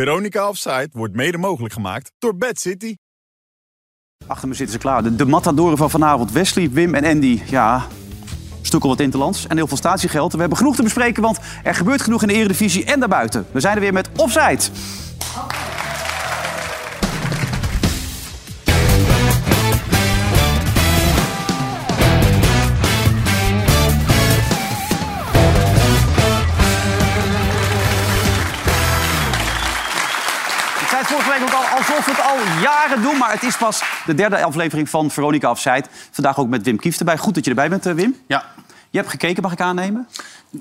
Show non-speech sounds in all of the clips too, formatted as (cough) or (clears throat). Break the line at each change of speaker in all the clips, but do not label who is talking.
Veronica Offside wordt mede mogelijk gemaakt door Bad City.
Achter me zitten ze klaar. De, de matadoren van vanavond. Wesley, Wim en Andy. Ja, stukkel wat interlands en heel veel statiegeld. We hebben genoeg te bespreken, want er gebeurt genoeg in de Eredivisie en daarbuiten. We zijn er weer met Offside. Ik zei het vorige week ook al alsof we het al jaren doen, maar het is pas de derde aflevering van Veronica Afzijd. Vandaag ook met Wim Kieft erbij. Goed dat je erbij bent, eh, Wim.
Ja,
Je hebt gekeken, mag ik aannemen?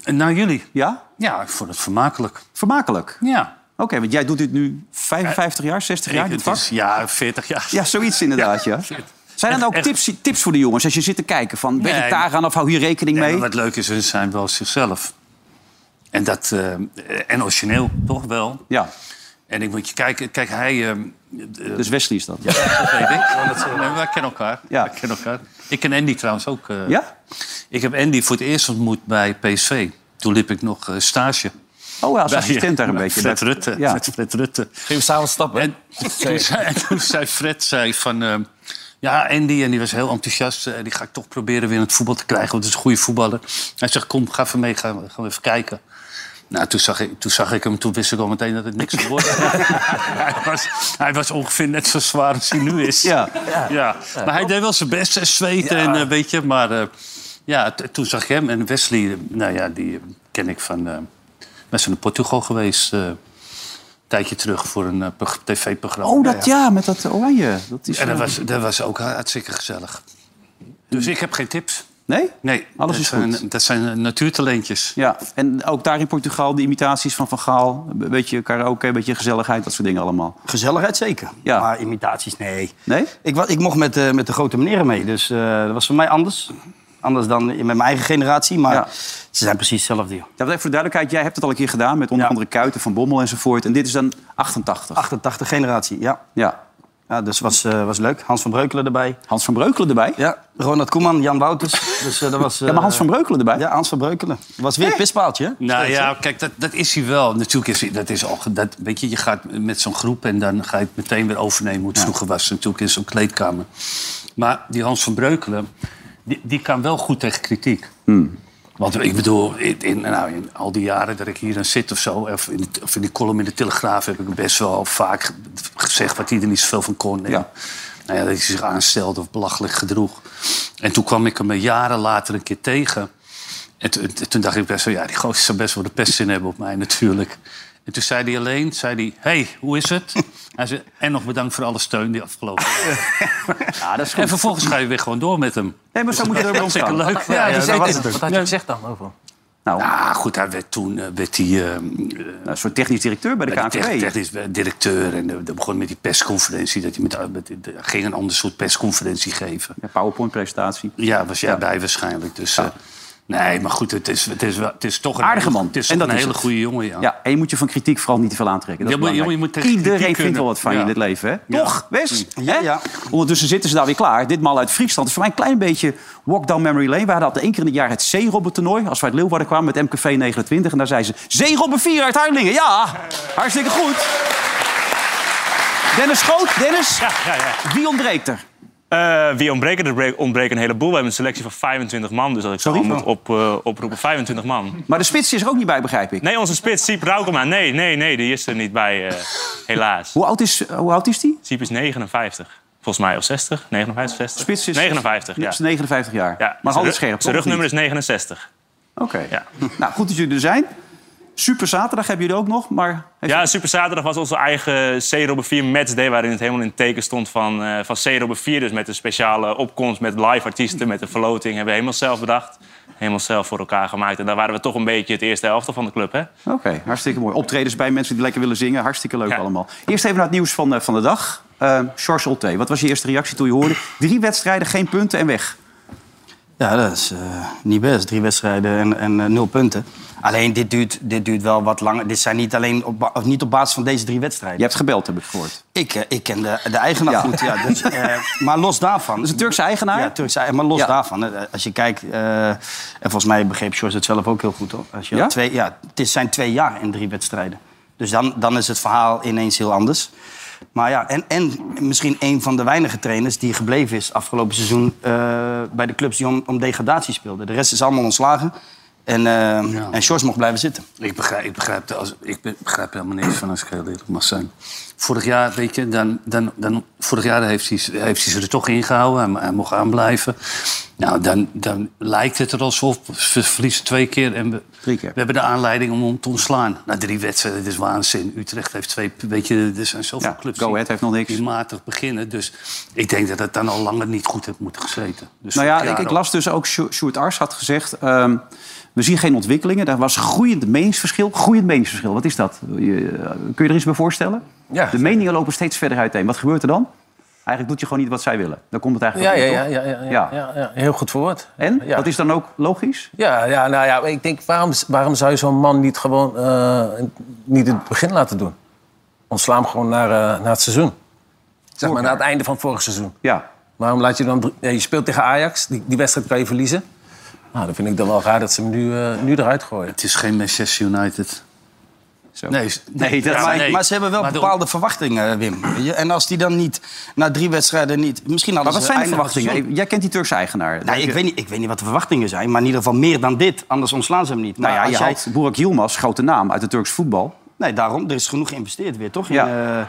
naar jullie.
Ja?
Ja, ik vond het vermakelijk.
Vermakelijk.
Ja.
Oké, want jij doet dit nu 55 jaar, 60 jaar, dit
het
vak?
is, ja, 40 jaar.
(laughs) Ja, zoiets inderdaad, ja. Zijn er dan ook
echt.
tips, tips voor de jongens als je zit te kijken? Van, weet
Nee.
ik daar aan of hou hier rekening
Nee,
mee?
maar wat leuk is, hun zijn wel zichzelf. En, dat, eh, en origineel, toch wel.
Ja,
En ik moet je kijken, kijk,
(laughs)
hij... eh, eh,
dus Wesley is dat. Ja?
dat weet ik, want het- nee, wij kennen elkaar.
Ja.
Wij kennen elkaar. Ik ken Andy trouwens ook. eh.
Ja?
Ik heb Andy voor het eerst ontmoet bij PSV. Toen liep ik nog eh, stage.
Oh, ja, als
Bij-
assistent daar een
bij eh,
beetje.
Fred
Bij-
Rutte.
Ja.
Met Fred Rutte.
Gingen we samen stappen?
En toen zei, en toen zei Fred zei van... ehm, ja, Andy, en die was heel enthousiast. eh, die ga ik toch proberen weer in het voetbal te krijgen. Want het is een goede voetballer. Hij zegt, kom, ga even mee, gaan we, gaan we even kijken. Nou, toen zag, ik, toen zag ik hem, toen wist ik al meteen dat het niks zou worden. hij, was, hij was ongeveer net zo zwaar als hij nu is.
Ja.
ja. Maar hij deed wel zijn best en zweten, en, eh, weet je. Maar eh, ja, t- toen zag ik hem. En Wesley, eh, nou ja, die eh, ken ik van... eh we zijn in Portugal geweest, eh, een tijdje terug, voor een eh, pro- tv-programma.
Oh, dat ja, met dat oranje. Dat is,
En dat
eh,
was, dat was ook hartstikke gezellig. Dus ik heb geen tips.
Nee?
Nee,
Alles
dat
is
zijn,
goed.
Dat zijn eh, natuurtalentjes.
Ja, en ook daar in Portugal de imitaties van Van Gaal. Een beetje karaoke, een beetje gezelligheid, dat soort dingen allemaal.
Gezelligheid zeker.
Ja.
Maar imitaties, nee.
Nee?
Ik, wa- ik mocht met, eh, met de grote meneren mee, dus eh, dat was voor mij anders. Anders dan in- met mijn eigen generatie, maar
Ja.
ze zijn precies hetzelfde. joh.
Ja, want even voor de duidelijkheid, jij hebt het al een keer gedaan... met onder
Ja.
andere Kuiten, Van Bommel enzovoort. En dit is dan 88.
88 generatie, ja.
Ja.
ja dus was, eh, was leuk. Hans van Breukelen erbij.
Hans van Breukelen erbij?
Ja, Ronald Koeman, Jan Wouters. Dus eh, dat was... eh,
Ja, maar Hans van Breukelen erbij?
Ja, Hans van Breukelen. Was weer een pispaaltje, hè?
Nou ja, kijk, dat, dat is hij wel. Natuurlijk is hij, dat is al, ge- dat, weet je, je gaat met zo'n groep en dan ga je het meteen weer overnemen hoe het vroeger was. Natuurlijk in zo'n kleedkamer. Maar die Hans van Breukelen, die, die kan wel goed tegen kritiek. Want ik bedoel, in, in- nou, in al die jaren dat ik hier aan zit of zo... Of in, de- of in die column in de Telegraaf heb ik best wel vaak ge- gezegd... wat hij er niet zoveel van kon. En,
Ja.
Nou ja, dat hij zich aanstelde of belachelijk gedroeg. En toen kwam ik hem jaren later een keer tegen. En toen- en toen dacht ik best wel, ja, die gozer zou best wel de pest in hebben op mij natuurlijk. En toen zei hij alleen, zei hij, hey, hoe is het? Hij zei, en nog bedankt voor alle steun die afgelopen jaren.
Ja, dat is
En vervolgens ga je weer gewoon door met hem.
Nee, maar zo moet je er ook
Hartstikke
staan.
leuk. Ja,
Ja,
dus
dat
ik-
was het. Wat had je
Ja.
gezegd dan over?
Nou,
Ah, goed, hij werd toen eh, werd hij, eh, eh,
een soort technisch directeur bij de
werd hij tech-
KNVB.
technisch directeur. En eh, dat begon met die persconferentie. Dat hij met, met- de- ging een ander soort persconferentie geven.
Ja, PowerPoint-presentatie.
Ja, was jij bij waarschijnlijk. Dus, eh, nee, maar goed, het is, het is, wel- het is toch een
Aardige
hele-
man.
Het is
En
toch
dat
een
is
hele
het.
goede jongen, ja.
Ja, en je moet je van kritiek vooral niet te veel aantrekken. Dat is
Ja, maar- ja, maar je
belangrijk.
moet tegen
Iedereen
kritiek
vindt
kunnen.
wel wat van je in
Ja.
dit leven, hè?
Ja.
Toch, Wes?
Ja,
Hè?
ja.
Ondertussen zitten ze daar weer klaar. Ditmaal uit Friesland. Het is voor mij een klein beetje walk down memory lane. We hadden altijd één keer in het jaar het zeerobben-toernooi. Als wij uit Leeuwarden kwamen met MKV 29. En daar zei ze, zeerobben 4 uit Huilingen. Ja, hartstikke goed. Dennis Schoot, Dennis, wie ontbreekt er?
Eh, wie ontbreken? Er breek- ontbreken een heleboel. We hebben een selectie van 25 man. Dus als ik
Sorry?
zo moet op, eh, oproepen, 25 man.
Maar de spits is er ook niet bij, begrijp ik.
Nee, onze spits, Siep Raukema. Nee, nee, nee, die is er niet bij, eh,
(laughs)
helaas.
Hoe oud is, eh, hoe oud is die?
Siep is 59, volgens mij. Of 60? 59, 60?
Spits is
59, ja.
Is 59 jaar.
ja.
Maar
Zijn
altijd
rug-
scherp.
Zijn
toch, of niet?
rugnummer is 69.
Oké.
Ja.
(laughs) Nou, goed dat jullie er zijn. Super zaterdag hebben jullie ook nog, maar...
Ja, Super Zaterdag was onze eigen C. Robben 4 matchday... waarin het helemaal in het teken stond van, eh van C. Robben 4. Dus met een speciale opkomst met live artiesten, met een verloting. Hebben we helemaal zelf bedacht. Helemaal zelf voor elkaar gemaakt. En daar waren we toch een beetje het eerste helftal van de club, hè? (laughs)
Oké, hartstikke mooi. Optredens bij mensen die lekker willen zingen. Hartstikke leuk
Ja.
allemaal. Eerst even naar het nieuws van, eh, van de dag. Eh Charles Olté, wat was je eerste reactie toen je hoorde? Drie wedstrijden, geen punten en weg.
Ja, dat is eh, niet best. Drie wedstrijden en, en eh, nul punten. Alleen, dit duurt, dit duurt wel wat langer. Dit zijn niet alleen op, ba- of niet op basis van deze drie wedstrijden.
Je hebt gebeld, heb ik gehoord.
Ik, eh, ik ken de, de eigenaar
Ja.
goed, ja.
(laughs)
Dus, eh, maar los daarvan...
Dat is een Turkse eigenaar?
Ja, Turkse eigenaar. Maar los
Ja.
daarvan, eh, als je kijkt... eh, en volgens mij begreep George het zelf ook heel goed, hoor. Als je
Ja?
Twee, ja, het is- zijn twee jaar en drie wedstrijden. Dus dan, dan is het verhaal ineens heel anders. Maar ja, en, en misschien een van de weinige trainers die gebleven is afgelopen seizoen eh, bij de clubs die om, om degradatie speelden. De rest is allemaal ontslagen. En, eh en Sjors mocht blijven zitten.
Ik begrijp, ik, begrijp, de- als, ik be- begrijp er helemaal niks van als ik heel eerlijk mag zijn. Vorig jaar, weet je, dan, dan, dan, vorig jaar heeft hij, heeft hij ze er toch ingehouden. Hij, hij mocht aanblijven. Nou, dan, dan lijkt het er alsof we verliezen twee keer. En we,
Drie keer.
we hebben de aanleiding om hem te ontslaan. Na drie wedstrijden, dit is waanzin. Utrecht heeft twee, weet je, er zijn zoveel
Ja,
clubs
Go Ahead
die-
heeft nog niks.
die matig beginnen. Dus ik denk dat het dan al langer niet goed heeft moeten gezeten. Dus
Nou ja,
vorig
ik,
jaar
ik
al-
las dus ook, Sjo- Sjoerd Ars had gezegd... ehm, we zien geen ontwikkelingen, daar was groeiend meningsverschil. Groeiend meningsverschil, wat is dat? Je- eh, kun je er iets bij voorstellen?
Ja.
De meningen lopen steeds verder uiteen. Wat gebeurt er dan? Eigenlijk doet je gewoon niet wat zij willen. Daar komt het
Ja,
eigenlijk
ja,
op neer,
ja,
toch?
ja, ja, ja, ja, ja. Heel goed verwoord.
En?
Ja.
Dat is dan ook logisch?
Ja, ja, nou ja, ik denk, waarom, waarom zou je zo'n man niet gewoon eh, niet het begin laten doen? Ontsla hem gewoon naar, eh, naar het seizoen. Zeg maar, naar het einde van vorig seizoen.
Ja.
Waarom laat je dan... drie- ja, je speelt tegen Ajax, die, die wedstrijd kan je verliezen. Nou, dan vind ik dan wel raar dat ze hem nu, eh, nu eruit gooien.
Het is geen Manchester United.
Zo.
Nee, is-
Nee, dat-
maar,
nee.
maar ze hebben wel
Maar de-
bepaalde verwachtingen, Wim. Weet je, En als die dan niet, na drie wedstrijden niet... Misschien hadden
Maar wat zijn
ze
de
einde van het
verwachtingen?
seizoen-
Eh, Jij kent die Turkse eigenaar. Daar
Nou,
heb
ik,
je-
weet niet, ik weet niet wat de verwachtingen zijn, maar in ieder geval meer dan dit. Anders ontslaan ze hem niet. Maar
Nou ja,
als
je
jij-
had Burak Yilmaz, grote naam uit het Turks voetbal.
Nee, daarom. Er is genoeg geïnvesteerd weer, toch?
Ja.
In, eh,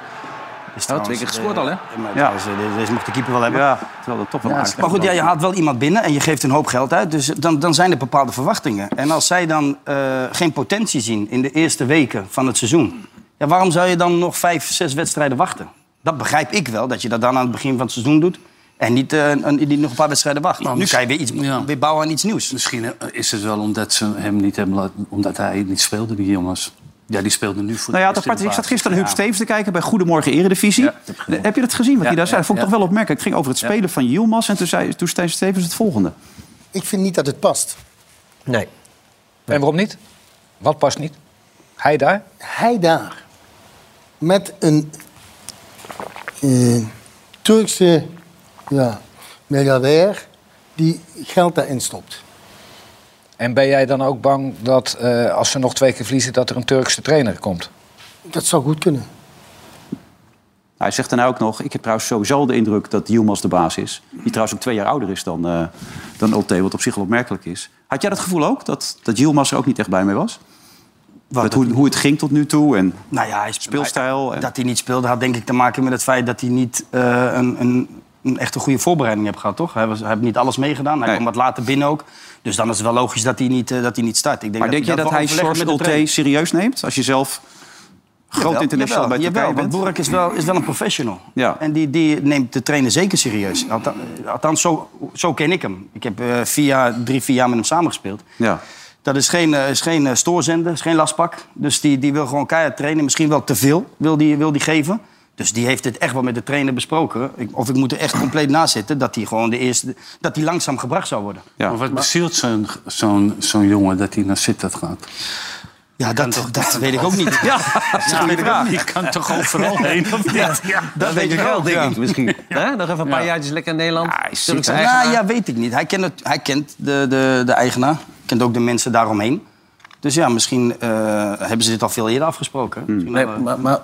is trouwens,
twee keer gescoord
eh,
al, hè?
ja, maar
Ja.
trouwens, eh, deze- Deze mocht de keeper wel hebben.
Ja, terwijl dat toch wel aardig
Maar goed, ja, je haalt wel iemand binnen en je geeft een hoop geld uit. Dus dan, dan zijn er bepaalde verwachtingen. En als zij dan eh, geen potentie zien in de eerste weken van het seizoen... Ja, waarom zou je dan nog vijf, zes wedstrijden wachten? Dat begrijp ik wel, dat je dat dan aan het begin van het seizoen doet... en niet, eh, een- niet nog een paar wedstrijden wacht.
Maar
nu
misschien-
kan je weer, iets,
ja.
weer bouwen aan iets nieuws.
Misschien eh, is het wel omdat ze hem niet hebben laten, omdat hij niet speelde, die jongens. Ja, die speelde nu voor
Nou ja,
de
dat
eerste
apart, ik
in de
zat gisteren Huub
basis.
Stevens te kijken bij Goedemorgen Eredivisie.
Ja, dat heb ik
heb je dat gezien, wat hij daar zei? Dat vond ik
ja,
toch wel opmerkelijk. Het ging over het spelen van Yilmaz en toen zei, toen zei Stevens het volgende.
Ik vind niet dat het past.
Nee.
En waarom niet? Wat past niet? Hij daar?
Hij daar met een eh, Turkse ja, miljardair die geld daarin stopt.
En ben jij dan ook bang dat eh, als ze nog twee keer verliezen... dat er een Turkse trainer komt?
Dat zou goed kunnen.
Hij zegt dan ook nog, ik heb trouwens sowieso al de indruk dat Yilmaz de baas is. Die trouwens ook twee jaar ouder is dan, eh dan Ulte, wat op zich wel opmerkelijk is. Had jij dat gevoel ook, dat, dat Yilmaz er ook niet echt bij mee was? Met hoe, hoe het ging tot nu toe en
Nou ja, hij
speelstijl? En...
Dat hij niet speelde had denk ik te maken met het feit dat hij niet eh, een, een, een echt een goede voorbereiding heeft gehad, toch? Hij, was, hij heeft niet alles meegedaan. Hij
Nee.
kwam wat later binnen ook. Dus dan is het wel logisch dat hij niet, eh, dat hij niet start. Ik denk
Maar denk je dat
wel
hij
overlegt
Sjors
met de
Ulte
trainer.
serieus neemt? Als je zelf groot
Jawel,
international bij
jawel,
Turkije
jawel, want
bent?
Boerak is wel, is wel een professional.
Ja.
En die, die neemt de trainer zeker serieus. Althans, althans zo, zo ken ik hem. Ik heb eh, vier jaar, drie, vier jaar met hem samengespeeld.
Ja.
Dat is geen, eh, is geen eh, stoorzender, is geen lastpak. Dus die, die wil gewoon keihard trainen. Misschien wel te veel wil die, wil die geven. Dus die heeft dit echt wel met de trainer besproken. Ik- of ik moet er echt compleet na zitten dat hij gewoon de eerste... dat hij langzaam gebracht zou worden.
Ja.
Maar wat bezielt zo'n zo'n zo'n jongen dat hij naar Sittard gaat?
Ja, dat, dat weet ik ook (laughs) niet.
Ja, dat is een goede vraag.
Die kan toch overal heen? Of niet? Ja,
Dat weet ik wel, denk ik misschien. Hè? Nog even een paar
Ja.
jaartjes lekker in Nederland.
hij zit
Turkse
er.
Ja,
eigenaar.
Nou, ja, weet ik niet. Hij kent, het, hij kent de, de, de eigenaar, kent ook de mensen daaromheen. Dus ja, misschien eh, hebben ze dit al veel eerder afgesproken. Misschien
Nee,
al, eh,
maar, maar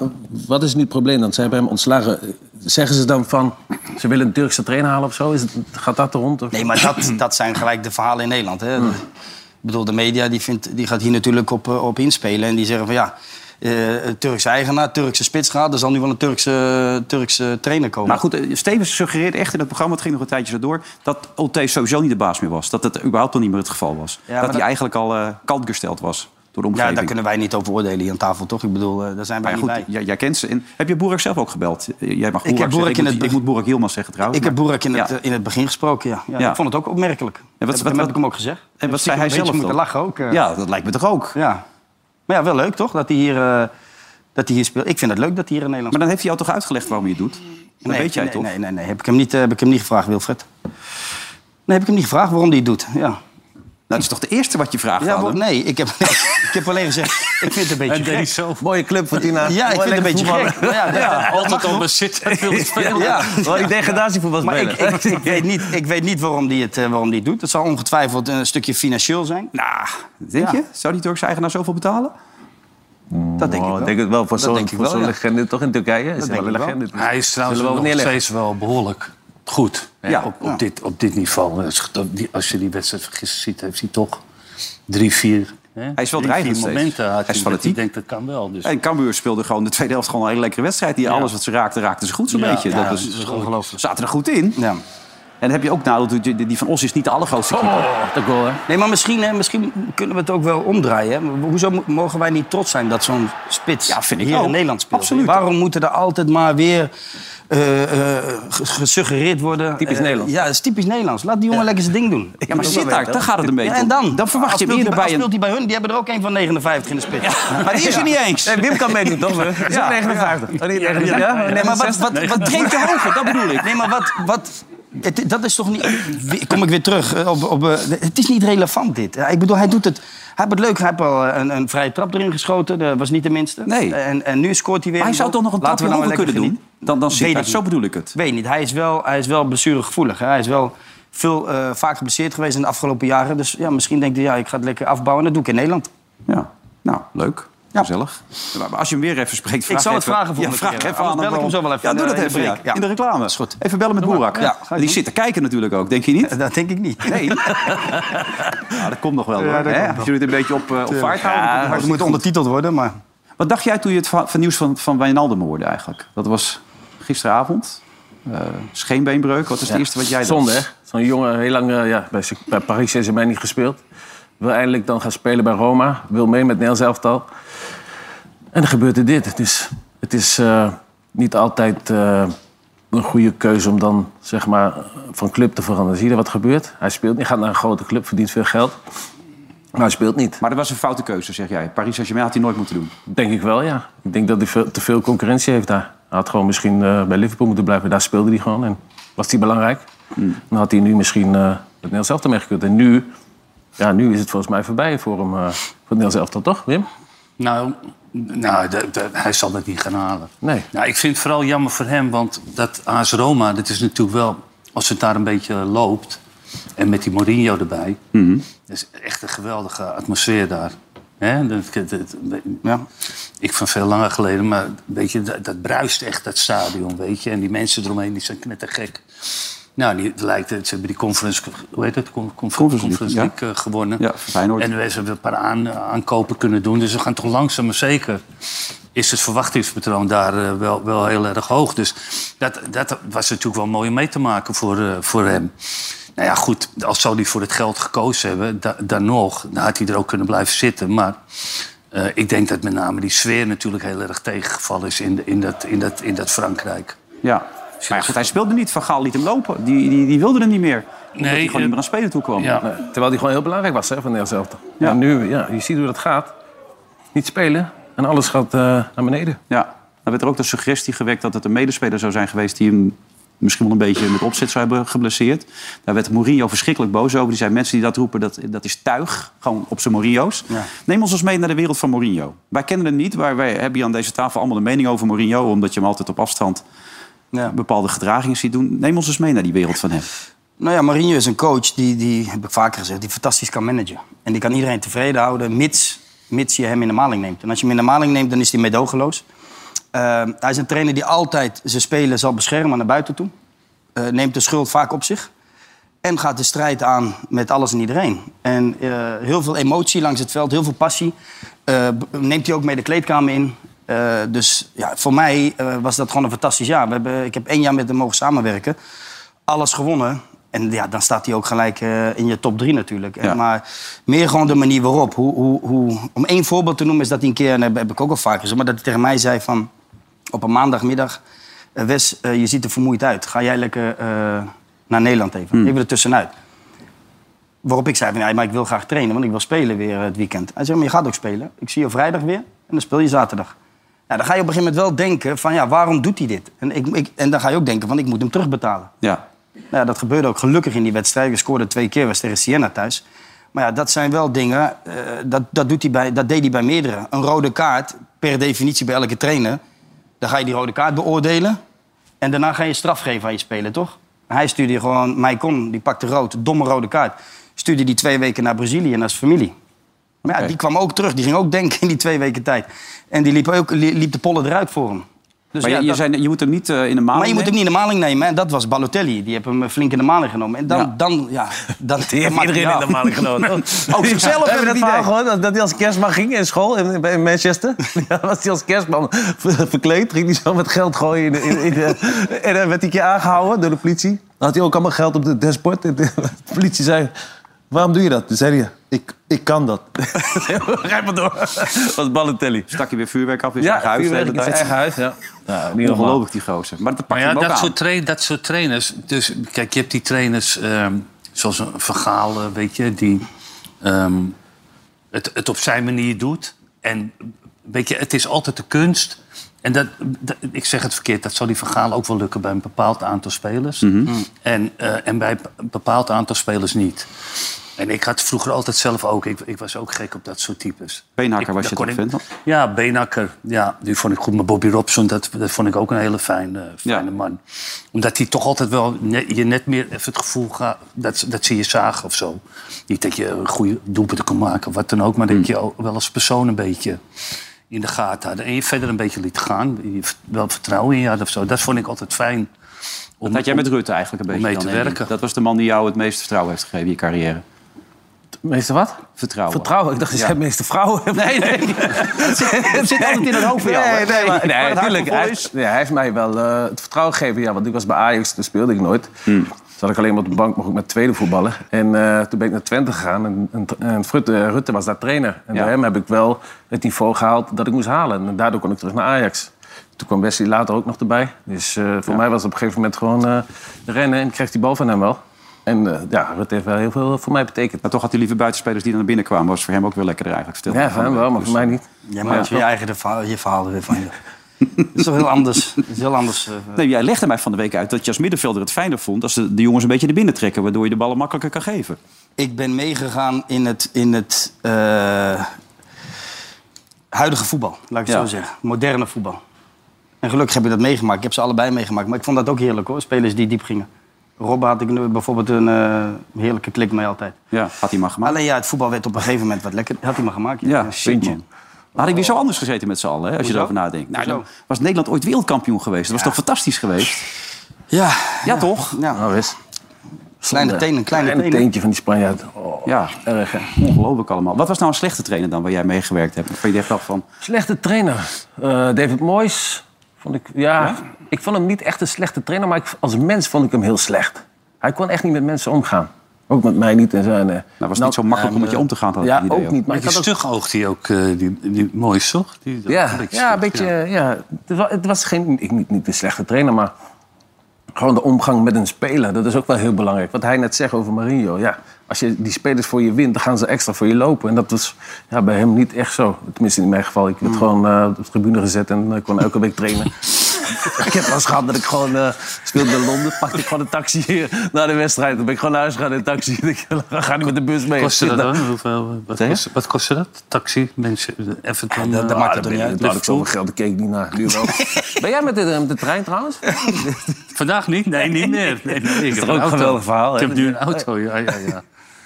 wat is nu het probleem dan? Ze hebben hem ontslagen. Zeggen ze dan van, ze willen een Turkse trainer halen of zo? Is het, gaat dat er rond? Of?
Nee, maar
(clears throat)
dat, dat zijn gelijk de verhalen in Nederland. Hè? Ik bedoel, de media die vindt, die gaat hier natuurlijk op, eh, op inspelen. En die zeggen van ja, eh, een Turkse eigenaar, Turkse spits gaat. Er zal nu wel een Turkse, Turkse trainer komen.
Maar goed, eh, Stevens suggereert echt in dat programma, het ging nog een tijdje zo door, dat Ulte sowieso niet de baas meer was. Dat dat überhaupt al niet meer het geval was.
maar
dat hij
dat-
eigenlijk al eh kant gesteld was door de
ja,
omgeving.
daar kunnen wij niet over oordelen hier aan tafel, toch? Ik bedoel, eh, daar zijn wij
Maar
niet
goed,
bij.
jij, jij kent ze. En heb je Boerak zelf ook gebeld? Eh, Jij mag
heb
Boerak zeggen.
Boerak
Ik,
in
moet-
het
ik
be-
moet Boerak Hilmas zeggen trouwens.
Ik heb
maar-
Boerak in,
Ja.
het, eh, in het begin gesproken, ja. ja,
Ja.
Ik vond het ook opmerkelijk. En
wat-
wat,
wat-
heb ik hem ook gezegd.
En wat zei
een
hij
beetje
zelf dan?
moeten lachen ook. eh.
Ja, dat lijkt me toch ook.
Ja. Maar ja, wel leuk toch? Dat hij hier, eh, dat hij hier speelt. Ik vind het leuk dat hij hier in Nederland
Maar dan heeft hij jou toch uitgelegd waarom je het doet? Dat
Nee,
weet jij
nee,
toch?
Nee, nee, nee. Heb ik hem niet, eh, heb ik hem niet gevraagd, Wilfred. Nee, heb ik hem niet gevraagd waarom hij het doet. Ja.
Nou, dat is toch de eerste wat je vraagt
Ja,
aan
wa-
hem?
nee, ik heb, ik heb alleen gezegd, (laughs) Eh, ik vind het een beetje gek.
Mooie club voor Tina.
Ja, ik vind het een beetje gek. Maar ja, dat- dat mag
Altijd al
nog.
bij Sittard wilde spelen.
Ja.
Wat ik degradatievoetbal
Maar ik,
spelen.
ik, ik weet niet, ik weet niet waarom hij het, eh, waarom die het doet. Het zal ongetwijfeld een stukje financieel zijn.
Nou, denk
Ja.
je? Zou die Turkse eigenaar zoveel betalen?
Dat denk ik
Oh,
wel.
ik denk het wel. Voor zo'n
denk ik
voor
wel,
zo'n
ja.
legende toch in Turkije? Is
denk
wel een
ik wel.
legende.
Hij is trouwens
Zullen we
nog
hem neerleggen?
steeds wel behoorlijk goed hè,
Ja,
op, op,
ja.
Dit, op dit niveau. Dus dat- die- Als je die wedstrijd van gisteren ziet, heeft hij toch drie, vier... Hè,
is wel
drie,
dreigend
vier
steeds.
momenten had
Hij is
hij. dat
fanatiek.
Ik denk dat kan wel. Dus.
En Cambuur speelde gewoon de tweede helft gewoon een hele lekkere wedstrijd. Die alles wat ze raakte, raakten ze goed zo'n
Ja,
beetje.
ja,
dat
dat
was,
is ongelooflijk.
Zaten er goed in.
Ja.
En dan heb je ook nadeel, dat die- die van Os is niet de allergrootste keeper.
Oh,
De goal, hè?
Nee, maar misschien, hè, misschien kunnen we het ook wel omdraaien. Hè? Hoezo mo- mogen wij niet trots zijn dat zo'n spits
Ja, vind ik
hier
ook.
in Nederland speelt?
Absoluut.
Waarom moeten er altijd maar weer eh, eh, ge- gesuggereerd worden?
Typisch
Eh,
Nederlands.
Ja, dat is typisch Nederlands. Laat die jongen lekker zijn ding doen.
Ja, maar zit daar, daar gaat het een beetje
Ja, en
om.
dan?
Dan verwacht
Als
je hem eerder
speelt hij- als
bij een...
speelt hij bij hun? Die hebben er ook een van 59 in de spits.
Maar die is er niet eens.
Nee, Wim kan meedoen, toch? Dat is
Ja.
ook 59. Oh, niet 59. Ja,
Nee, maar wat,
69.
wat, wat drinkt de hoger? Dat bedoel ik. Nee, maar wat... wat het, dat is toch niet... Wie- Kom ik weer terug. eh, Op, op, eh, het is niet relevant, dit. Ja, Ik bedoel, hij doet het... Hij heeft het leuk. Hij heeft al eh, een, een vrije trap erin geschoten. Dat was niet de minste.
Nee.
En, en nu scoort hij weer.
Maar hij zou toch nog een
Laten
trapje
we nou
hoger kunnen
lekker
doen?
genieten.
Dan, dan zit
Weet
dat.
ik
Zo
niet.
bedoel ik het.
Weet niet. Hij is wel, hij is wel blessuregevoelig. hè. Hij is wel veel eh, vaak geblesseerd geweest in de afgelopen jaren. Dus ja, misschien denkt hij, ja, ik ga het lekker afbouwen. Dat doe ik in Nederland.
Ja. Nou, leuk.
Ja.
Gezellig. Maar- maar Als je hem weer even spreekt, vraag
zal het
even-
vragen volgende
ja, vraag
keer.
Even
Anders
aan
bel ik hem
gewoon.
zo wel even
Ja,
in
doe
de-
dat
in
even
de
ja.
break. Ja.
in de reclame. Is
goed.
Even bellen met Boerak.
Ja, ga ik
Die
doen.
zit te kijken natuurlijk ook, denk je
(laughs)
niet?
(laughs) Dat denk ik niet.
Nee. (laughs) ja, dat komt nog wel. hoor. Hè? Als jullie het een beetje op, eh, op vaart houden. dan komt het
Ja,
wel.
het moet ondertiteld worden, maar...
Wat dacht jij toen je het verha- van nieuws van, van Wijnaldum hoorde eigenlijk? Dat was gisteravond. Eh, scheenbeenbreuk. Wat is het eerste wat jij dacht?
Zonde, hè? Zo'n jongen, heel lang eh, ja, bij, bij Paris Saint-Germain niet gespeeld. Wil eindelijk dan gaan spelen bij Roma. Wil mee met Nederlands elftal. En dan gebeurt er dit. Dus het is eh, niet altijd eh, een goede keuze om dan zeg maar, van club te veranderen. Zie je wat gebeurt? Hij speelt niet, gaat naar een grote club, verdient veel geld. Maar hij speelt niet.
Maar dat was een foute keuze, zeg jij. Paris Saint-Germain had hij nooit moeten doen.
Denk ik wel, ja. Ik denk dat hij veel- te veel concurrentie heeft daar. Hij had gewoon misschien eh, bij Liverpool moeten blijven. Daar speelde hij gewoon en was hij belangrijk. Dan had hij nu misschien eh het Nederlands elftal meegekund. En nu, ja, nu is het volgens mij voorbij voor hem. eh, voor het Nederlands elftal, toch, Wim?
Nou, nou de- de- hij zal dat niet gaan halen.
Nee.
Nou, ik vind het vooral jammer voor hem, want dat AS Roma, dat is natuurlijk wel... Als het daar een beetje loopt, en met die Mourinho erbij... dat is echt een geweldige atmosfeer daar. Hè? Dat, dat- dat- Ik van veel langer geleden, maar weet je, dat, dat bruist echt, dat stadion, weet je. En die mensen eromheen, die zijn knettergek. Nou, die, het lijkt, het- ze hebben die conference, hoe heet het? Con- Con-
Conference
conference,
League, ja.
League, eh, gewonnen.
Ja, Feyenoord.
En we hebben een paar aan, aankopen kunnen doen. Dus we gaan toch langzaam maar zeker. Is het verwachtingspatroon daar eh, wel, wel heel erg hoog. Dus dat, dat was natuurlijk wel mooi om mee te maken voor, eh, voor hem. Nou ja, goed, als zou hij voor het geld gekozen hebben, da, dan nog, dan had hij er ook kunnen blijven zitten. Maar eh, ik denk dat met name die sfeer natuurlijk heel erg tegengevallen is in, de- in, dat, in, dat, in dat Frankrijk.
Ja. Maar ja, goed, hij speelde niet. Van Gaal liet hem lopen. Die, die, die wilde hem niet meer. Omdat
Nee,
hij gewoon
eh,
niet meer aan spelen toe kwam.
Ja.
Nee, Terwijl hij gewoon heel belangrijk was hè, voor het Nederlands elftal.
Ja.
En nu, ja, je ziet hoe dat gaat. Niet spelen en alles gaat eh, naar beneden.
Ja. Dan werd er ook de suggestie gewekt dat het een medespeler zou zijn geweest... die hem misschien wel een beetje met opzet zou hebben geblesseerd. Daar werd Mourinho verschrikkelijk boos over. Die zei, mensen die dat roepen, dat, dat is tuig. Gewoon op zijn Mourinho's. Neem ons eens mee naar de wereld van Mourinho. Wij kennen hem niet, maar wij hebben hier aan deze tafel allemaal een mening over Mourinho... omdat je hem altijd op afstand bepaalde gedragingen ziet doen. Neem ons eens mee naar die wereld van hem.
Nou ja, Mourinho is een coach die, die heb ik vaker gezegd, die fantastisch kan managen. En die kan iedereen tevreden houden, mits, mits je hem in de maling neemt. En als je hem in de maling neemt, dan is hij medogeloos. Eh, hij is een trainer die altijd zijn spelen zal beschermen naar buiten toe. Eh, neemt de schuld vaak op zich. En gaat de strijd aan met alles en iedereen. En eh, heel veel emotie langs het veld, heel veel passie. Eh, b- neemt hij ook mee de kleedkamer in. Eh, dus ja, voor mij eh, was dat gewoon een fantastisch jaar. We hebben, ik heb één jaar met hem mogen samenwerken. Alles gewonnen. En ja, dan staat hij ook gelijk eh, in je top drie natuurlijk. En
Ja.
Maar meer gewoon de manier waarop. Hoe, hoe, hoe, om één voorbeeld te noemen is dat hij een keer... en dat heb ik ook al vaak gezegd, maar dat hij tegen mij zei van op een maandagmiddag. eh, Wes, eh, je ziet er vermoeid uit. Ga jij lekker eh, naar Nederland even? Even er tussenuit. Waarop ik zei, van, ja, maar ik wil graag trainen, want ik wil spelen weer eh, het weekend. Hij zei, maar je gaat ook spelen. Ik zie je vrijdag weer en dan speel je zaterdag. Ja, dan ga je op een gegeven moment wel denken van, ja, waarom doet hij dit? En, ik, ik, en dan ga je ook denken van, ik moet hem terugbetalen.
Ja,
Nou ja, dat gebeurde ook gelukkig in die wedstrijd. We scoorden twee keer, was tegen Siena thuis. Maar ja, dat zijn wel dingen, eh, dat, dat, doet hij bij, dat deed hij bij meerdere. Een rode kaart, per definitie bij elke trainer... dan ga je die rode kaart beoordelen... en daarna ga je straf geven aan je speler, toch? Hij stuurde gewoon, Maicon, die pakte rood, domme rode kaart... stuurde die twee weken naar Brazilië, naar zijn familie. Maar ja, die kwam ook terug. Die ging ook denken in die twee weken tijd. En die liep, ook, li- liep de pollen eruit voor hem. Dus
maar
ja,
je, je,
dat-
zei, je moet hem niet eh, in de maand.
maar je moet hem niet in de maling nemen. En dat was Balotelli. Die heeft hem eh, flink in de maling genomen. En dan...
Ja.
dan, ja, (laughs) dan
Die heeft
maar-
iedereen
ja.
in de maling
(laughs)
genomen.
Ook Oh, zichzelf
Heb
hebben
je dat
die
verhaal
idee.
gehoord? Dat dat hij als kerstman ging in school in, in Manchester. (laughs) Ja, was hij als kerstman ver- verkleed. Ging hij zo met geld gooien. In, de- in, in de, en dan werd hij een keer aangehouden door de politie. Dan had hij ook allemaal geld op de dashboard. En de politie zei... Waarom doe je dat? Toen zei hij... Ik, ik kan dat. Rijp maar door. Dat was Balotelli.
Stak je weer vuurwerk af in zijn eigen huis. de
vuurwerk
hele
in zijn
tijd.
eigen huis. Ja. Ja, niet normaal.
eh, Ongelooflijk, die gozer. Maar dat pak
Maar
je
ja,
hem ook
dat
aan.
soort, tra- dat soort trainers. Dus kijk, je hebt die trainers ehm, zoals een vergalen, weet je, die ehm, het, het op zijn manier doet. En weet je, het is altijd de kunst. En dat, dat- ik zeg het verkeerd, dat zal die vergalen ook wel lukken bij een bepaald aantal spelers.
Mhm.
en, eh, en bij een bepaald aantal spelers niet. En ik had vroeger altijd zelf ook, ik, ik was ook gek op dat soort types.
Beenhakker
Ik-
was
daar
je
kon
toch
ik-
fan van?
Ja, Beenhakker. Ja, die vond ik goed. Maar Bobby Robson, dat, dat vond ik ook een hele fijne, fijne
Ja.
man. Omdat hij toch altijd wel ne- je net meer even het gevoel gaat... Dat, dat ze je zagen of zo. Niet dat je een goede doelpunten kan maken, wat dan ook. Maar
Hmm.
dat je ook wel als persoon een beetje in de gaten had. En je verder een beetje liet gaan. Je v- wel vertrouwen in je had of zo. Dat vond ik altijd fijn. Om,
Dat had jij
om-
met Rutte eigenlijk een
om
beetje.
mee
dan,
te
hè?
werken.
Dat was de man die jou het meeste vertrouwen heeft gegeven in je carrière.
Meester wat?
Vertrouwen.
Vertrouwen. Ik dacht, je
Ja.
zei meester vrouwen.
Nee,
(laughs)
nee. Het zit, het zit altijd in het hoofd van jou. hè?
Nee, nee, maar,
Waar
nee,
het hart
natuurlijk.
van vol
Hij,
is.
nee, hij heeft mij wel eh, het vertrouwen gegeven. Ja, want ik was bij Ajax, toen speelde ik nooit.
Hmm.
Toen zat ik alleen maar op de bank, maar ook met tweede voetballen. En eh, toen ben ik naar Twente gegaan. En, en, en Rutte, Rutte was daar trainer. En
Ja.
door hem heb ik wel het niveau gehaald dat ik moest halen. En daardoor kon ik terug naar Ajax. Toen kwam Wesley later ook nog erbij. Dus eh, voor mij was het op een gegeven moment gewoon eh, rennen. En ik kreeg die bal van hem wel. En eh, ja, Rutte heeft wel heel veel voor mij betekend.
Maar toch had hij liever buitenspelers die dan naar binnen kwamen. Was voor hem ook weer lekkerder eigenlijk. Dus- Vertel
Ja, voor hem wel, maar voor mij niet.
Jij maakt je eigen de verhaal, je verhaal er weer van je. (laughs) Dat is toch heel anders. Dat is heel anders. eh.
Nee, jij legde mij van de week uit dat je als middenvelder het fijner vond... als ze de jongens een beetje naar binnen trekken... waardoor je de ballen makkelijker kan geven.
Ik ben meegegaan in het, in het eh, huidige voetbal, laat ik het
Ja.
zo zeggen. Moderne voetbal. En gelukkig heb je dat meegemaakt. Ik heb ze allebei meegemaakt. Maar ik vond dat ook heerlijk hoor, spelers die diep gingen. Robben had ik nu bijvoorbeeld een eh, heerlijke klik mee altijd.
Ja, had hij maar gemaakt.
Alleen ja, het voetbal werd op een gegeven moment wat lekker. Had hij maar gemaakt.
Ja, vind je.
man.
Had ik weer zo anders gezeten met z'n allen, hè, als je
Hoezo?
erover nadenkt. Nou, dan
Hoezo?
was Nederland ooit wereldkampioen geweest. Dat was toch fantastisch geweest?
Ja,
Ja, toch?
ja.
Nou, wist.
Kleine tenen, kleine
En het
tenen.
teentje van die Spanjaard. Oh,
Ja,
erg hè.
ongelooflijk allemaal. Wat was nou een slechte trainer dan waar jij mee gewerkt hebt? Van je echt af van... nou,
Slechte trainer. Eh, David Moyes. Vond ik, ja, ik vond hem niet echt een slechte trainer, maar ik, als mens vond ik hem heel slecht. Hij kon echt niet met mensen omgaan. Ook met mij niet. En zijn, eh,
Nou, was het niet zo makkelijk om met je om te gaan? had ik
ja,
het idee
ook niet. Maar ik
Die
had ook,
stug oogt hij ook, eh, die, die mooi toch? Die,
ja, ja,
stug,
een beetje. Ja. Het wa- het was geen, ik, niet, niet een slechte trainer, maar gewoon de omgang met een speler. Dat is ook wel heel belangrijk. Wat hij net zegt over Mourinho. Ja, als je die spelers voor je wint, dan gaan ze extra voor je lopen. En dat was ja, bij hem niet echt zo. Tenminste, in mijn geval. Ik werd gewoon eh, op de tribune gezet en eh, kon elke week (laughs) trainen. Ik heb wel eens gehad dat ik gewoon eh, speelde in Londen. Pakte ik gewoon een taxi (laughs) hier naar de wedstrijd. Dan ben ik gewoon naar huis gegaan in een taxi. (laughs) Ik ga niet met de bus mee.
kostte
Zit
dat
daar-
dan? Hoeveel, eh, wat,
Zeg je?
kost, wat kostte dat? Taxi, mensen, Everton...
dat- dat
eh,
maakt het
ah,
toch niet
ben-
uit?
Nou, had ik
Liverpool.
zoveel geld, daar keek ik niet (laughs) naar. Nu wel. ben jij met de, eh, met de trein
(laughs)
trouwens?
Vandaag niet? Nee, niet meer. Nee, nee, ik heb
ook
een
een
auto.
geweldig verhaal,
Ik
hè?
heb nu een auto, ja, ja, ja.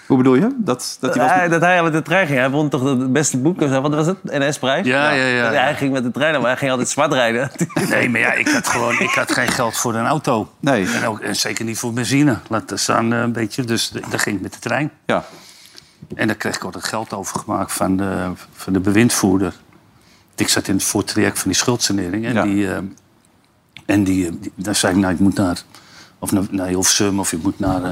Hoe bedoel je? Dat, dat hij was...
Hij- dat hij met de trein ging. Hij won toch het beste boek of zo. Wat was het? NS-prijs?
Ja, ja, ja, ja.
Hij ging met de trein, maar hij ging altijd zwart
(laughs)
rijden. (laughs)
Nee, maar ja, ik had gewoon ik had geen geld voor een auto.
Nee.
En, ook, en zeker niet voor benzine. Laat dat staan eh, een beetje. Dus de- dan ging ik met de trein.
Ja.
En daar kreeg ik ook het geld overgemaakt van de, van de bewindvoerder. Ik zat in het voortraject van die schuldsanering. En,
Ja.
die, eh, en die, eh, die- daar zei ik, nou, ik moet naar... Of naar, naar Hilversum, of je moet naar... eh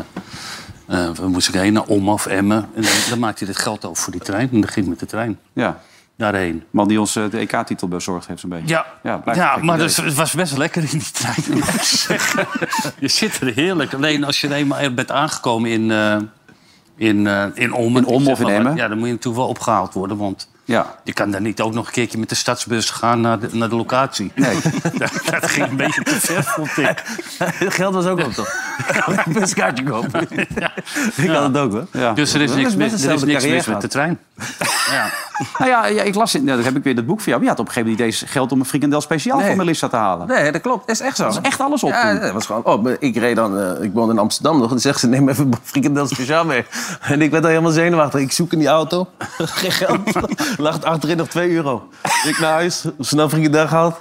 eh, waar moest ik heen? Naar Om of Emmen. En dan, dan maakte hij het geld over voor die trein. En dan ging ik met de trein
ja,
daarheen.
man die ons eh, de EK-titel bezorgd heeft zo'n beetje.
Ja,
Ja,
ja,
blijft een gek
maar
idee.
dus, het was best lekker in die trein. moet (laughs) ik zeggen. je zit er heerlijk. Alleen als je er eenmaal bent aangekomen in, eh in, eh in Ommen...
In Ommen
ik zeg
of in
maar,
Emmen?
Ja, dan moet je natuurlijk wel opgehaald worden. Want
Ja.
je kan daar niet ook nog een keertje met de stadsbus gaan naar de, (laughs) naar de locatie. Nee. dat, dat ging een beetje te ver, vond ik.
Het geld was ook op, toch? kan ik (laughs) een buskaartje
(laughs)
kopen.
Ik had het ook, hoor. Ja.
Dus er is
Dat
niks
best
mis, er is
eenzelfde
niks
carrière
mis met
gehad.
de trein.
Nou ja, ja, ik las in, nou, dan heb ik weer dat boek van jou. Maar je had op een gegeven moment niet eens geld om een frikandel speciaal
Nee.
voor Melissa te halen.
Nee, dat klopt. Is echt zo.
Dat is echt alles op
Ja,
toen.
dat was gewoon op. Ik reed dan, eh, ik woonde in Amsterdam nog. En zegt ze, neem even een frikandel speciaal mee. (laughs) En ik werd al helemaal zenuwachtig. Ik zoek in die auto. (laughs) Geen geld. Lag het achterin nog 2 euro. Ik naar huis. Snel frikandel gehaald.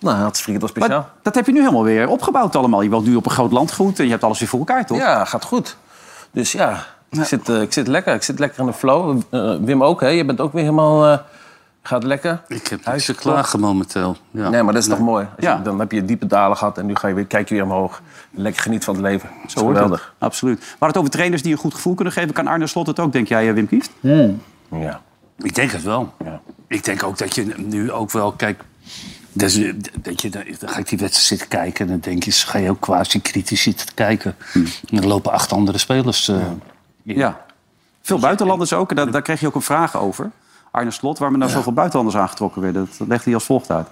Nou, had ze frikandel
Maar
speciaal.
dat heb je nu helemaal weer opgebouwd allemaal. Je woont nu op een groot landgoed en je hebt alles weer voor elkaar, toch?
Ja, gaat goed. Dus ja, ik, zit, eh, ik zit lekker. Ik zit lekker in de flow. Eh, Wim ook, hè? Je bent ook weer helemaal... eh, gaat lekker.
Ik heb
Hij is
niks te
top.
klagen momenteel. Ja.
Nee, maar dat is toch mooi? Als je-
Ja.
dan heb je diepe dalen gehad en nu ga je weer, kijk je weer omhoog. Lekker geniet van het leven. Dat is
Zo hoort het.
geweldig.
Absoluut. Maar het over trainers die een goed gevoel kunnen geven, kan Arne Slot het ook, denk jij, eh, Wim Kieft?
Ja.
Ik denk het wel.
Ja.
Ik denk ook dat je nu ook wel, kijk, dat is- dat je, dan ga ik die wedstrijd zitten kijken en dan denk je, ga je ook quasi kritisch zitten te kijken. En er lopen acht andere spelers. eh, in.
Hm. Ja.
Dus-
Veel buitenlanders ook. en Daar, daar kreeg je ook een vraag over. Arne Slot, waarom er nou zoveel buitenlanders aangetrokken werden. Dat legde hij als volgt uit.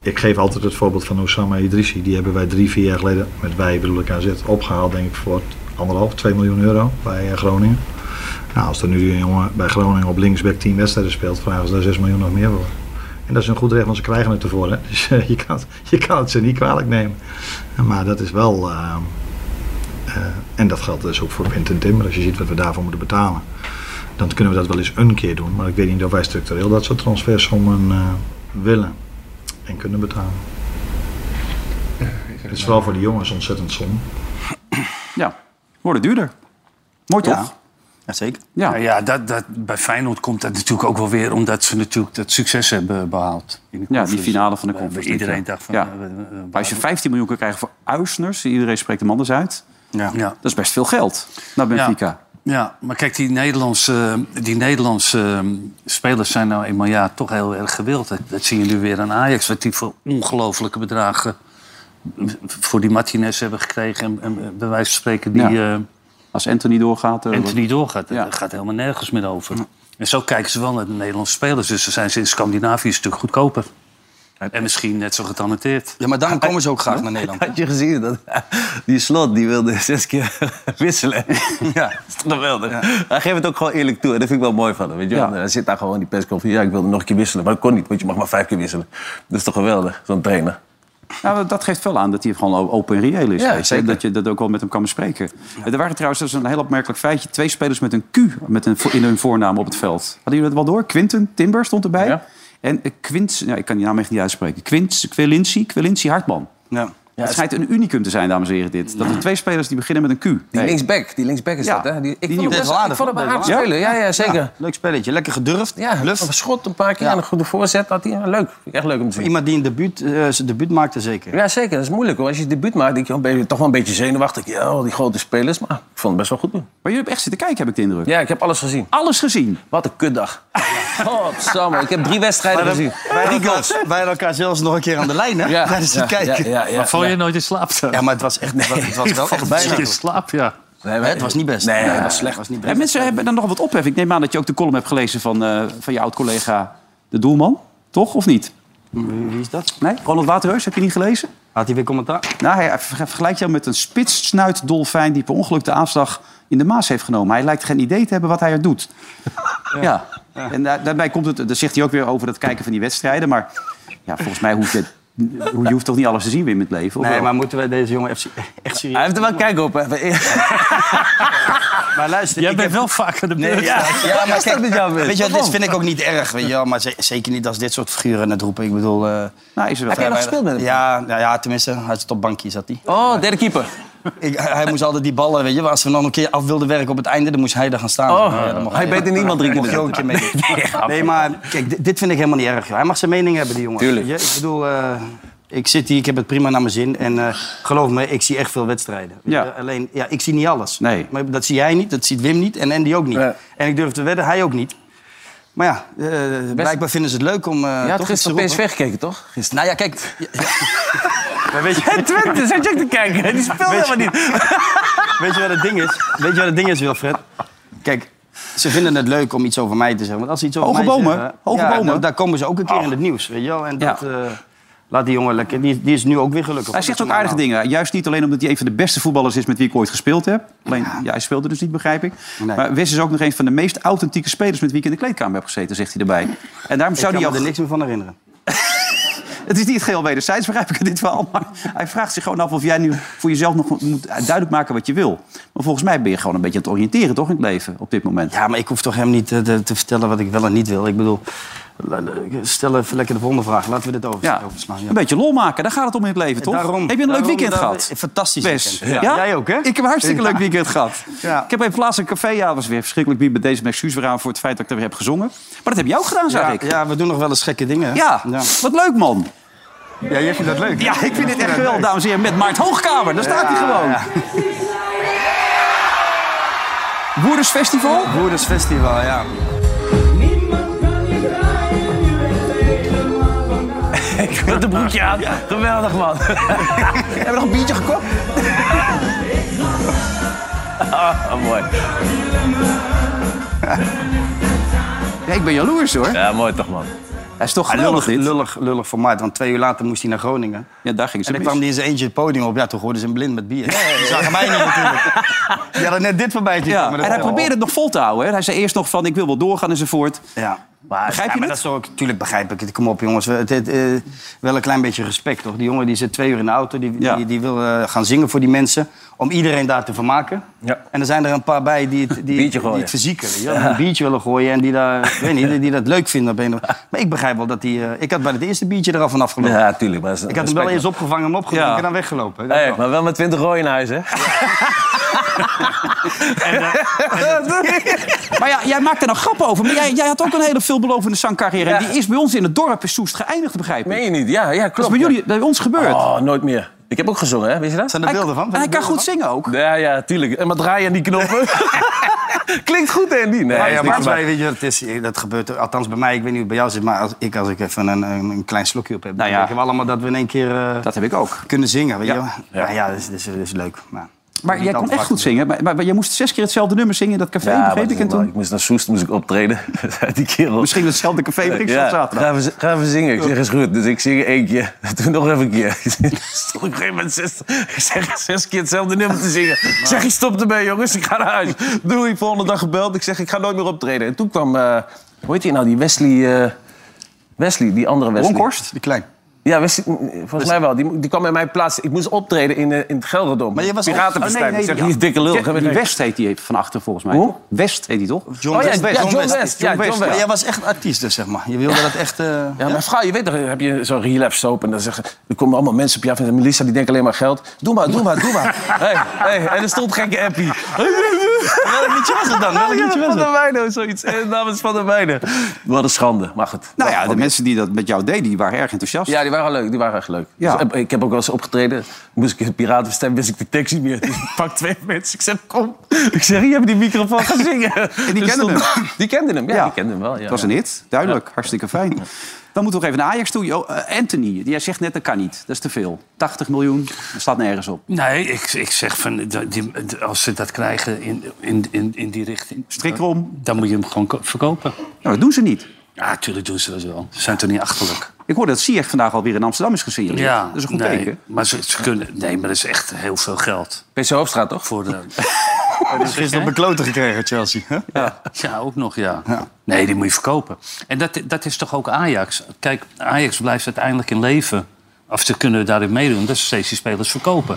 Ik geef altijd het voorbeeld van Osama Idrissi. Die hebben wij drie, vier jaar geleden, met wij bedoel ik AZ, opgehaald denk ik voor anderhalf, twee miljoen euro bij eh, Groningen. Nou, als er nu een jongen bij Groningen op linksback tien wedstrijden speelt, vragen ze daar zes miljoen nog meer voor. En dat is een goed recht, want ze krijgen het ervoor. Hè? (laughs) Dus eh, je, kan, het- je kan het ze niet kwalijk nemen. Maar dat is wel... eh, eh, en dat geldt dus ook voor Quinten Timber. Als je ziet wat we daarvoor moeten betalen, dan kunnen we dat wel eens een keer doen. Maar ik weet niet of wij structureel dat soort transfersommen eh, willen en kunnen betalen. Het is vooral voor de jongens ontzettend zonde.
Ja, worden duurder. Mooi toch?
Ja. Jazeker.
Ja.
Nou ja, dat, dat, bij Feyenoord komt dat natuurlijk ook wel weer omdat ze natuurlijk dat succes hebben behaald. in de
Ja, die
conference.
finale van de
Waar- waar
conference.
Iedereen
ja.
dacht van...
Ja.
eh, we- we- we-
Maar als je 15 miljoen kan krijgen voor Uisners, iedereen spreekt hem anders uit.
Ja.
ja.
Dat is best veel geld naar Benfica.
Ja, maar kijk, die Nederlandse, eh, die Nederlandse ehm, spelers zijn nou eenmaal ja, toch heel erg gewild. Dat, dat zie je nu weer aan Ajax, wat die voor ongelofelijke bedragen voor die Martinez hebben gekregen. En, en bij wijze van spreken die
Ja.
eh,
Als Anthony doorgaat. eh,
Anthony doorgaat.
Ja. Hm.
Daar gaat helemaal nergens meer over. En zo kijken ze wel naar de Nederlandse spelers. Dus dan zijn ze in Scandinavië een stuk goedkoper. En misschien net zo getalenteerd.
Ja, maar daarom komen ze ook graag naar Nederland.
Had je gezien dat (laughs) die slot die wilde (laughs) zes keer wisselen? Ja, dat is toch geweldig. Hij geeft het ook gewoon eerlijk toe. En dat vind ik wel mooi van hem. Weet je? wel.
Ja.
Hij zit daar gewoon in die persconferentie. Ja, ik wilde nog een keer wisselen. Maar dat kon niet, want je mag maar vijf keer wisselen. Dat is toch geweldig, zo'n trainer.
Nou, dat geeft wel aan dat hij gewoon open en reëel is.
Ja,
weet je.
zeker.
Dat je dat ook wel met hem kan bespreken. Er waren trouwens, dat is een heel opmerkelijk feitje... twee spelers met een Q met een, vo- in hun voornaam op het veld. Hadden jullie dat wel door? Quinten Timber stond erbij.
Ja.
En eh, Quint, nou, ik kan die naam echt niet uitspreken. Quint, Quilinci, Quilinci Hartman.
Ja.
het schijnt een unicum te zijn, dames en heren, dit. Dat er twee spelers die beginnen met een Q.
Die
Nee.
linksback, die linksback is
Ja,
dat, hè? Die, ik
die
vond
nieuwe.
hem best ik vond hem een hard spelen. Ja, ja, zeker. Ja.
Leuk spelletje, lekker gedurfd. Luf.
een schot een paar keer
Ja.
en een goede voorzet had hij. Ja, Leuk, Vind ik echt leuk om te zien.
Iemand die een debuut, eh, zijn debuut maakte zeker.
Ja, zeker. Dat is moeilijk hoor. Als je het debuut maakt, denk je, oh, ben je toch wel een beetje zenuwachtig. Ja, al die grote spelers. Maar ik vond het best wel goed doen.
Maar jullie hebben echt zitten kijken, heb ik de indruk.
Ja, ik heb alles gezien.
Alles gezien.
Wat een kutdag.
(laughs)
Godsamme, ik heb drie wedstrijden gezien.
Wij hadden, elkaar, (laughs) wij hadden elkaar zelfs nog een keer aan de lijn, (laughs) hè? Tijdens het kijken. Ja,
Ja, ja, ja,
Maar val je
ja.
nooit in slaap? zo?
maar het was, echt, het was- het (laughs) was wel echt
Val je
bijna.
in slaap, ja.
Nee, maar-
Het was niet best.
Nee,
het
ja.
was slecht. Was niet
En
best.
mensen hebben dan nog wat ophef. Ik neem aan dat je ook de column hebt gelezen van, eh, van je oud-collega de doelman. Toch, of niet?
Wie is dat?
Nee? Ronald Waterheus, heb je niet gelezen?
Had hij weer commentaar?
Nou, hij ver- vergelijkt jou met een spitssnuitdolfijn... die per ongeluk de aanslag in de Maas heeft genomen. Hij lijkt geen idee te hebben wat hij er doet. Ja. En daar- daarbij komt het... Daar zegt hij ook weer over het kijken van die wedstrijden. Maar ja, volgens mij hoef je, je hoeft toch niet alles te zien weer in het leven? of
Nee,
wel?
maar moeten wij deze jongen echt- (laughs) echt
Hij
serieus...
heeft er wel kijk op.
(laughs)
Hè.
Maar luister,
Jij
ik
bent
heb-
wel vaak aan de beurt.
Nee, ja, ja, maar kijk,
met jou, Wim?
weet je, wat, dit vind ik ook niet erg, weet je wel. Maar ze- zeker niet als dit soort figuren het roepen. Ik bedoel... eh,
Nou, is er wel.
Heb jij nog gespeeld met hem?
ja, nou ja, tenminste, hij zat op bankje, zat hij.
Oh, derde keeper.
Ik, hij moest altijd die ballen, weet je, maar als we nog een keer af wilden werken op het einde, dan moest hij daar gaan staan.
Oh,
Ja, dan mocht
hij beet in niemand drie
Mocht je ook een keer mee. doen. Nee, maar kijk, dit, dit vind ik helemaal niet erg. joh. Hij mag zijn mening hebben, die jongen.
Tuurlijk.
Je- ik bedoel, eh, ik zit hier, ik heb het prima naar mijn zin. En eh, geloof me, ik zie echt veel wedstrijden.
Ja.
Eh, Alleen, ja, ik zie niet alles.
Nee.
Maar dat zie jij niet, dat ziet Wim niet en Andy ook niet.
Nee.
En ik durf te wedden, hij ook niet. Maar ja, eh, blijkbaar vinden ze het leuk om eh
Je had
toch iets te
gisteren
roepen.
PSV gekeken,
(laughs)
toch? Gisteren.
Nou ja, kijk. ja, ja. Maar weet je,
Twente, zat je ook te kijken? Die speelde helemaal niet.
(laughs)
Weet je wat het ding is? Weet je wat het ding is, Wilfred? Kijk, ze vinden het leuk om iets over mij te zeggen. Want als ze iets over
Hoge
mij
bomen,
zeggen,
hoge
ja,
bomen.
dan- daar komen ze ook een keer in het nieuws, weet je wel? En dat,
Ja.
eh, Laat die jongen lekker. Die, die is nu ook weer gelukkig.
Hij zegt ook aardige dingen. Juist niet alleen omdat hij een van de beste voetballers is met wie ik ooit gespeeld heb. Alleen, ja. hij speelde dus niet, begrijp ik.
Nee.
Maar Wes is ook nog een van de meest authentieke spelers met wie ik in de kleedkamer heb gezeten, zegt hij erbij. En daarom
Ik
zou
kan
hij
me er
ook...
niks meer van herinneren.
Het is niet geheel wederzijds, begrijp ik in dit verhaal. Maar hij vraagt zich gewoon af of jij nu voor jezelf nog moet duidelijk maken wat je wil. Maar volgens mij ben je gewoon een beetje aan het oriënteren, toch, in het leven op dit moment.
Ja, maar ik hoef toch hem niet eh, te, te vertellen wat ik wel en niet wil. Ik bedoel, la- la- stel even lekker de volgende vraag. Laten we dit over,
Ja.
overslaan. Ja.
Een beetje lol maken, daar gaat het om in het leven, toch? heb
Daarom.
je een leuk
Daarom,
weekend
daarom.
gehad?
Fantastisch
Best.
weekend. Ja. Jij ook, hè?
Ik heb een hartstikke leuk weekend gehad.
Ja.
Ik heb even laatst een café, ja, was weer verschrikkelijk bier. Met deze mijn excuus weer aan voor het feit dat ik er weer heb gezongen. Maar dat heb jij ook gedaan, zag
ja,
ik.
ja, we doen nog wel eens gekke dingen. hè?
Ja,
ja.
wat leuk, man.
Ja, jij vindt dat leuk.
Ja, ik vind dit echt geweldig, dames en heren. Met Maart Hoogkamer, daar staat hij gewoon. Woerders Festival?
Boerdersfestival, ja.
Met een broekje aan. Geweldig, man.
Hebben we nog een biertje gekocht?
Ah, mooi.
Ja, ik ben jaloers, hoor.
Ja, mooi toch, man.
Hij is toch
Ah,
geweldig,
lullig,
dit.
lullig, lullig voor Maart, want twee uur later moest hij naar Groningen.
Ja, daar ging
En
ze
dan
mis.
kwam hij in zijn eentje het podium op. Ja, toen hoorden ze hem blind met bier. Die zagen mij
(laughs)
niet natuurlijk. Die hadden net dit voorbij zien
Ja,
komen, dat
en hij
wel.
probeerde het nog vol te houden. Hè. Hij zei eerst nog van, ik wil wel doorgaan (laughs) enzovoort.
Ja. Maar,
Begrijp
ja,
je
maar
het?
Dat is ook, tuurlijk begrijp ik het. Kom op, jongens. Het, het, eh, wel een klein beetje respect, toch? Die jongen die zit twee uur in de auto. Die,
Ja.
die, die wil eh, gaan zingen voor die mensen. Om iedereen daar te vermaken.
Ja.
En er zijn er een paar bij die het, die,
Biertje
die
gooien.
het verzieken. weet je wel. Die
(laughs)
een biertje willen gooien en die, daar, ik weet niet, die, die dat leuk vinden. Op een of andere- Maar ik begrijp wel dat die... eh, ik had bij het eerste biertje er al van afgelopen.
Ja, tuurlijk. Maar dat is
Ik had hem wel
respect,
eens opgevangen, hem opgedronken
Ja.
en dan weggelopen.
man. Hey, maar wel met 20 rooien in huis, hè? (laughs) eh,
(laughs)
Maar ja, jij maakt er nou grappen over. Maar jij, jij had ook een hele veelbelovende zangcarrière. En
Ja.
die is bij ons in het dorp in Soest geëindigd, begrijp ik.
(laughs) Meen je niet? Ja, ja
Dat
klopt.
is bij jullie, bij ons gebeurd.
Oh, nooit meer. Ik heb ook gezongen, hè? Weet je dat?
Zijn er beelden van?
en hij kan goed zingen ook.
Ja, ja, tuurlijk. En maar draai aan die knoppen. Klinkt goed, hè, die? Nee,
Ja,
is
ja,
niks
maar
van mij.
wij, weet je, dat, is, eh, dat gebeurt er- althans bij mij. Ik weet niet hoe het bij jou zit, maar als ik, als ik even een, een, een klein slokje op
Nou
heb... Nou
ja.
ja. denken we allemaal dat we in één keer eh,
Dat heb ik ook.
kunnen zingen. Weet
Ja.
je? wel. Ja, ja, dat is, dat is, dat is leuk. Maar,
Maar jij kon
altijd
echt goed
wakker.
zingen. Maar, maar, maar jij moest zes keer hetzelfde nummer zingen in dat café,
Ja, maar
begreep ik. En
toen...
toen...
ik moest naar Soest, moest ik optreden. (laughs) die kerel.
Misschien hetzelfde café, begreep ik
Ja,
zaterdag.
Ga even, ga even zingen. Ik zeg, is goed. Dus ik zing één keer. (laughs) Toen nog even een keer. (laughs) Stond op een gegeven moment zes, ik zeg, zes keer hetzelfde nummer te zingen. Ik zeg, ik stop ermee, jongens. Ik ga naar huis. Doei, volgende dag gebeld. Ik zeg, ik ga nooit meer optreden. En toen kwam, eh, hoe heet hij nou, die Wesley... eh, Wesley, die andere Wesley.
Bronkhorst?
Die klein.
Ja, Wesley, volgens mij wel. Die, die kwam in mijn plaats. Ik moest optreden in, eh, in het Gelredom.
Maar je was op-
Piratenbestrijding.
Oh, nee, nee,
ik zeg, die dikke lul.
Ja,
ga weer
die
weg.
West heet die van achter, volgens mij.
Hoe?
West heet die toch?
John
Oh, ja,
West.
ja, John West. Ja, John
Maar
West.
jij was echt artiest, dus, zeg maar. Je wilde dat echt... eh,
Ja, maar vrouw, je weet toch, heb je zo'n relapse soap en dan zeggen, er komen allemaal mensen op je af en Melissa die denkt alleen maar geld. Doe maar, doe maar, doe maar. hey, hey, en er stond gekke appie. Welk liedje was het dan? Welk liedje was het? Van der Weijden of zoiets. En namens Van der Weijden. Wat een schande, maar goed.
Nou ja, de mensen die dat met jou deden, die waren erg enthousiast.
Ja, die waren leuk, die waren echt leuk.
Ja.
Dus, eh, ik heb ook wel eens opgetreden. Moest ik in het Piratenbestemming, wist ik de tekst niet meer. Dus ik pak twee (laughs) mensen, ik zeg kom. Ik zeg, hier heb je die microfoon, gaan
(laughs)
zingen. En
kenden hem.
(laughs) Die kenden hem, ja,
Ja.
die kenden hem wel. Ja.
Het was een hit, duidelijk. Hartstikke fijn. Dan moeten we nog even naar Ajax toe. Jo, eh, Anthony, jij zegt net dat kan niet. Dat is te veel. 80 miljoen, dat staat nergens op.
Nee, ik, ik zeg van, dat- die- als ze dat krijgen in, in, in, in die richting...
Strikrom.
Dan moet je hem gewoon ko- verkopen.
Nou, dat doen ze niet.
Ja, natuurlijk doen ze dat wel. Ze zijn toch niet achterlijk.
Ik hoorde dat Ziyech vandaag alweer in Amsterdam is gesignaleerd.
Ja,
dat is een goed
nee,
teken.
Maar ze, ze kunnen, nee, maar dat is echt heel veel geld.
PC Hoofdstraat, toch?
Voor (laughs) de,
Gisteren op de kloten gekregen, Chelsea. hè?
ja, ook nog, ja. Nee, die moet je verkopen. En dat, dat is toch ook Ajax? Kijk, Ajax blijft uiteindelijk in leven. Of ze kunnen daarin meedoen, dat ze steeds die spelers verkopen.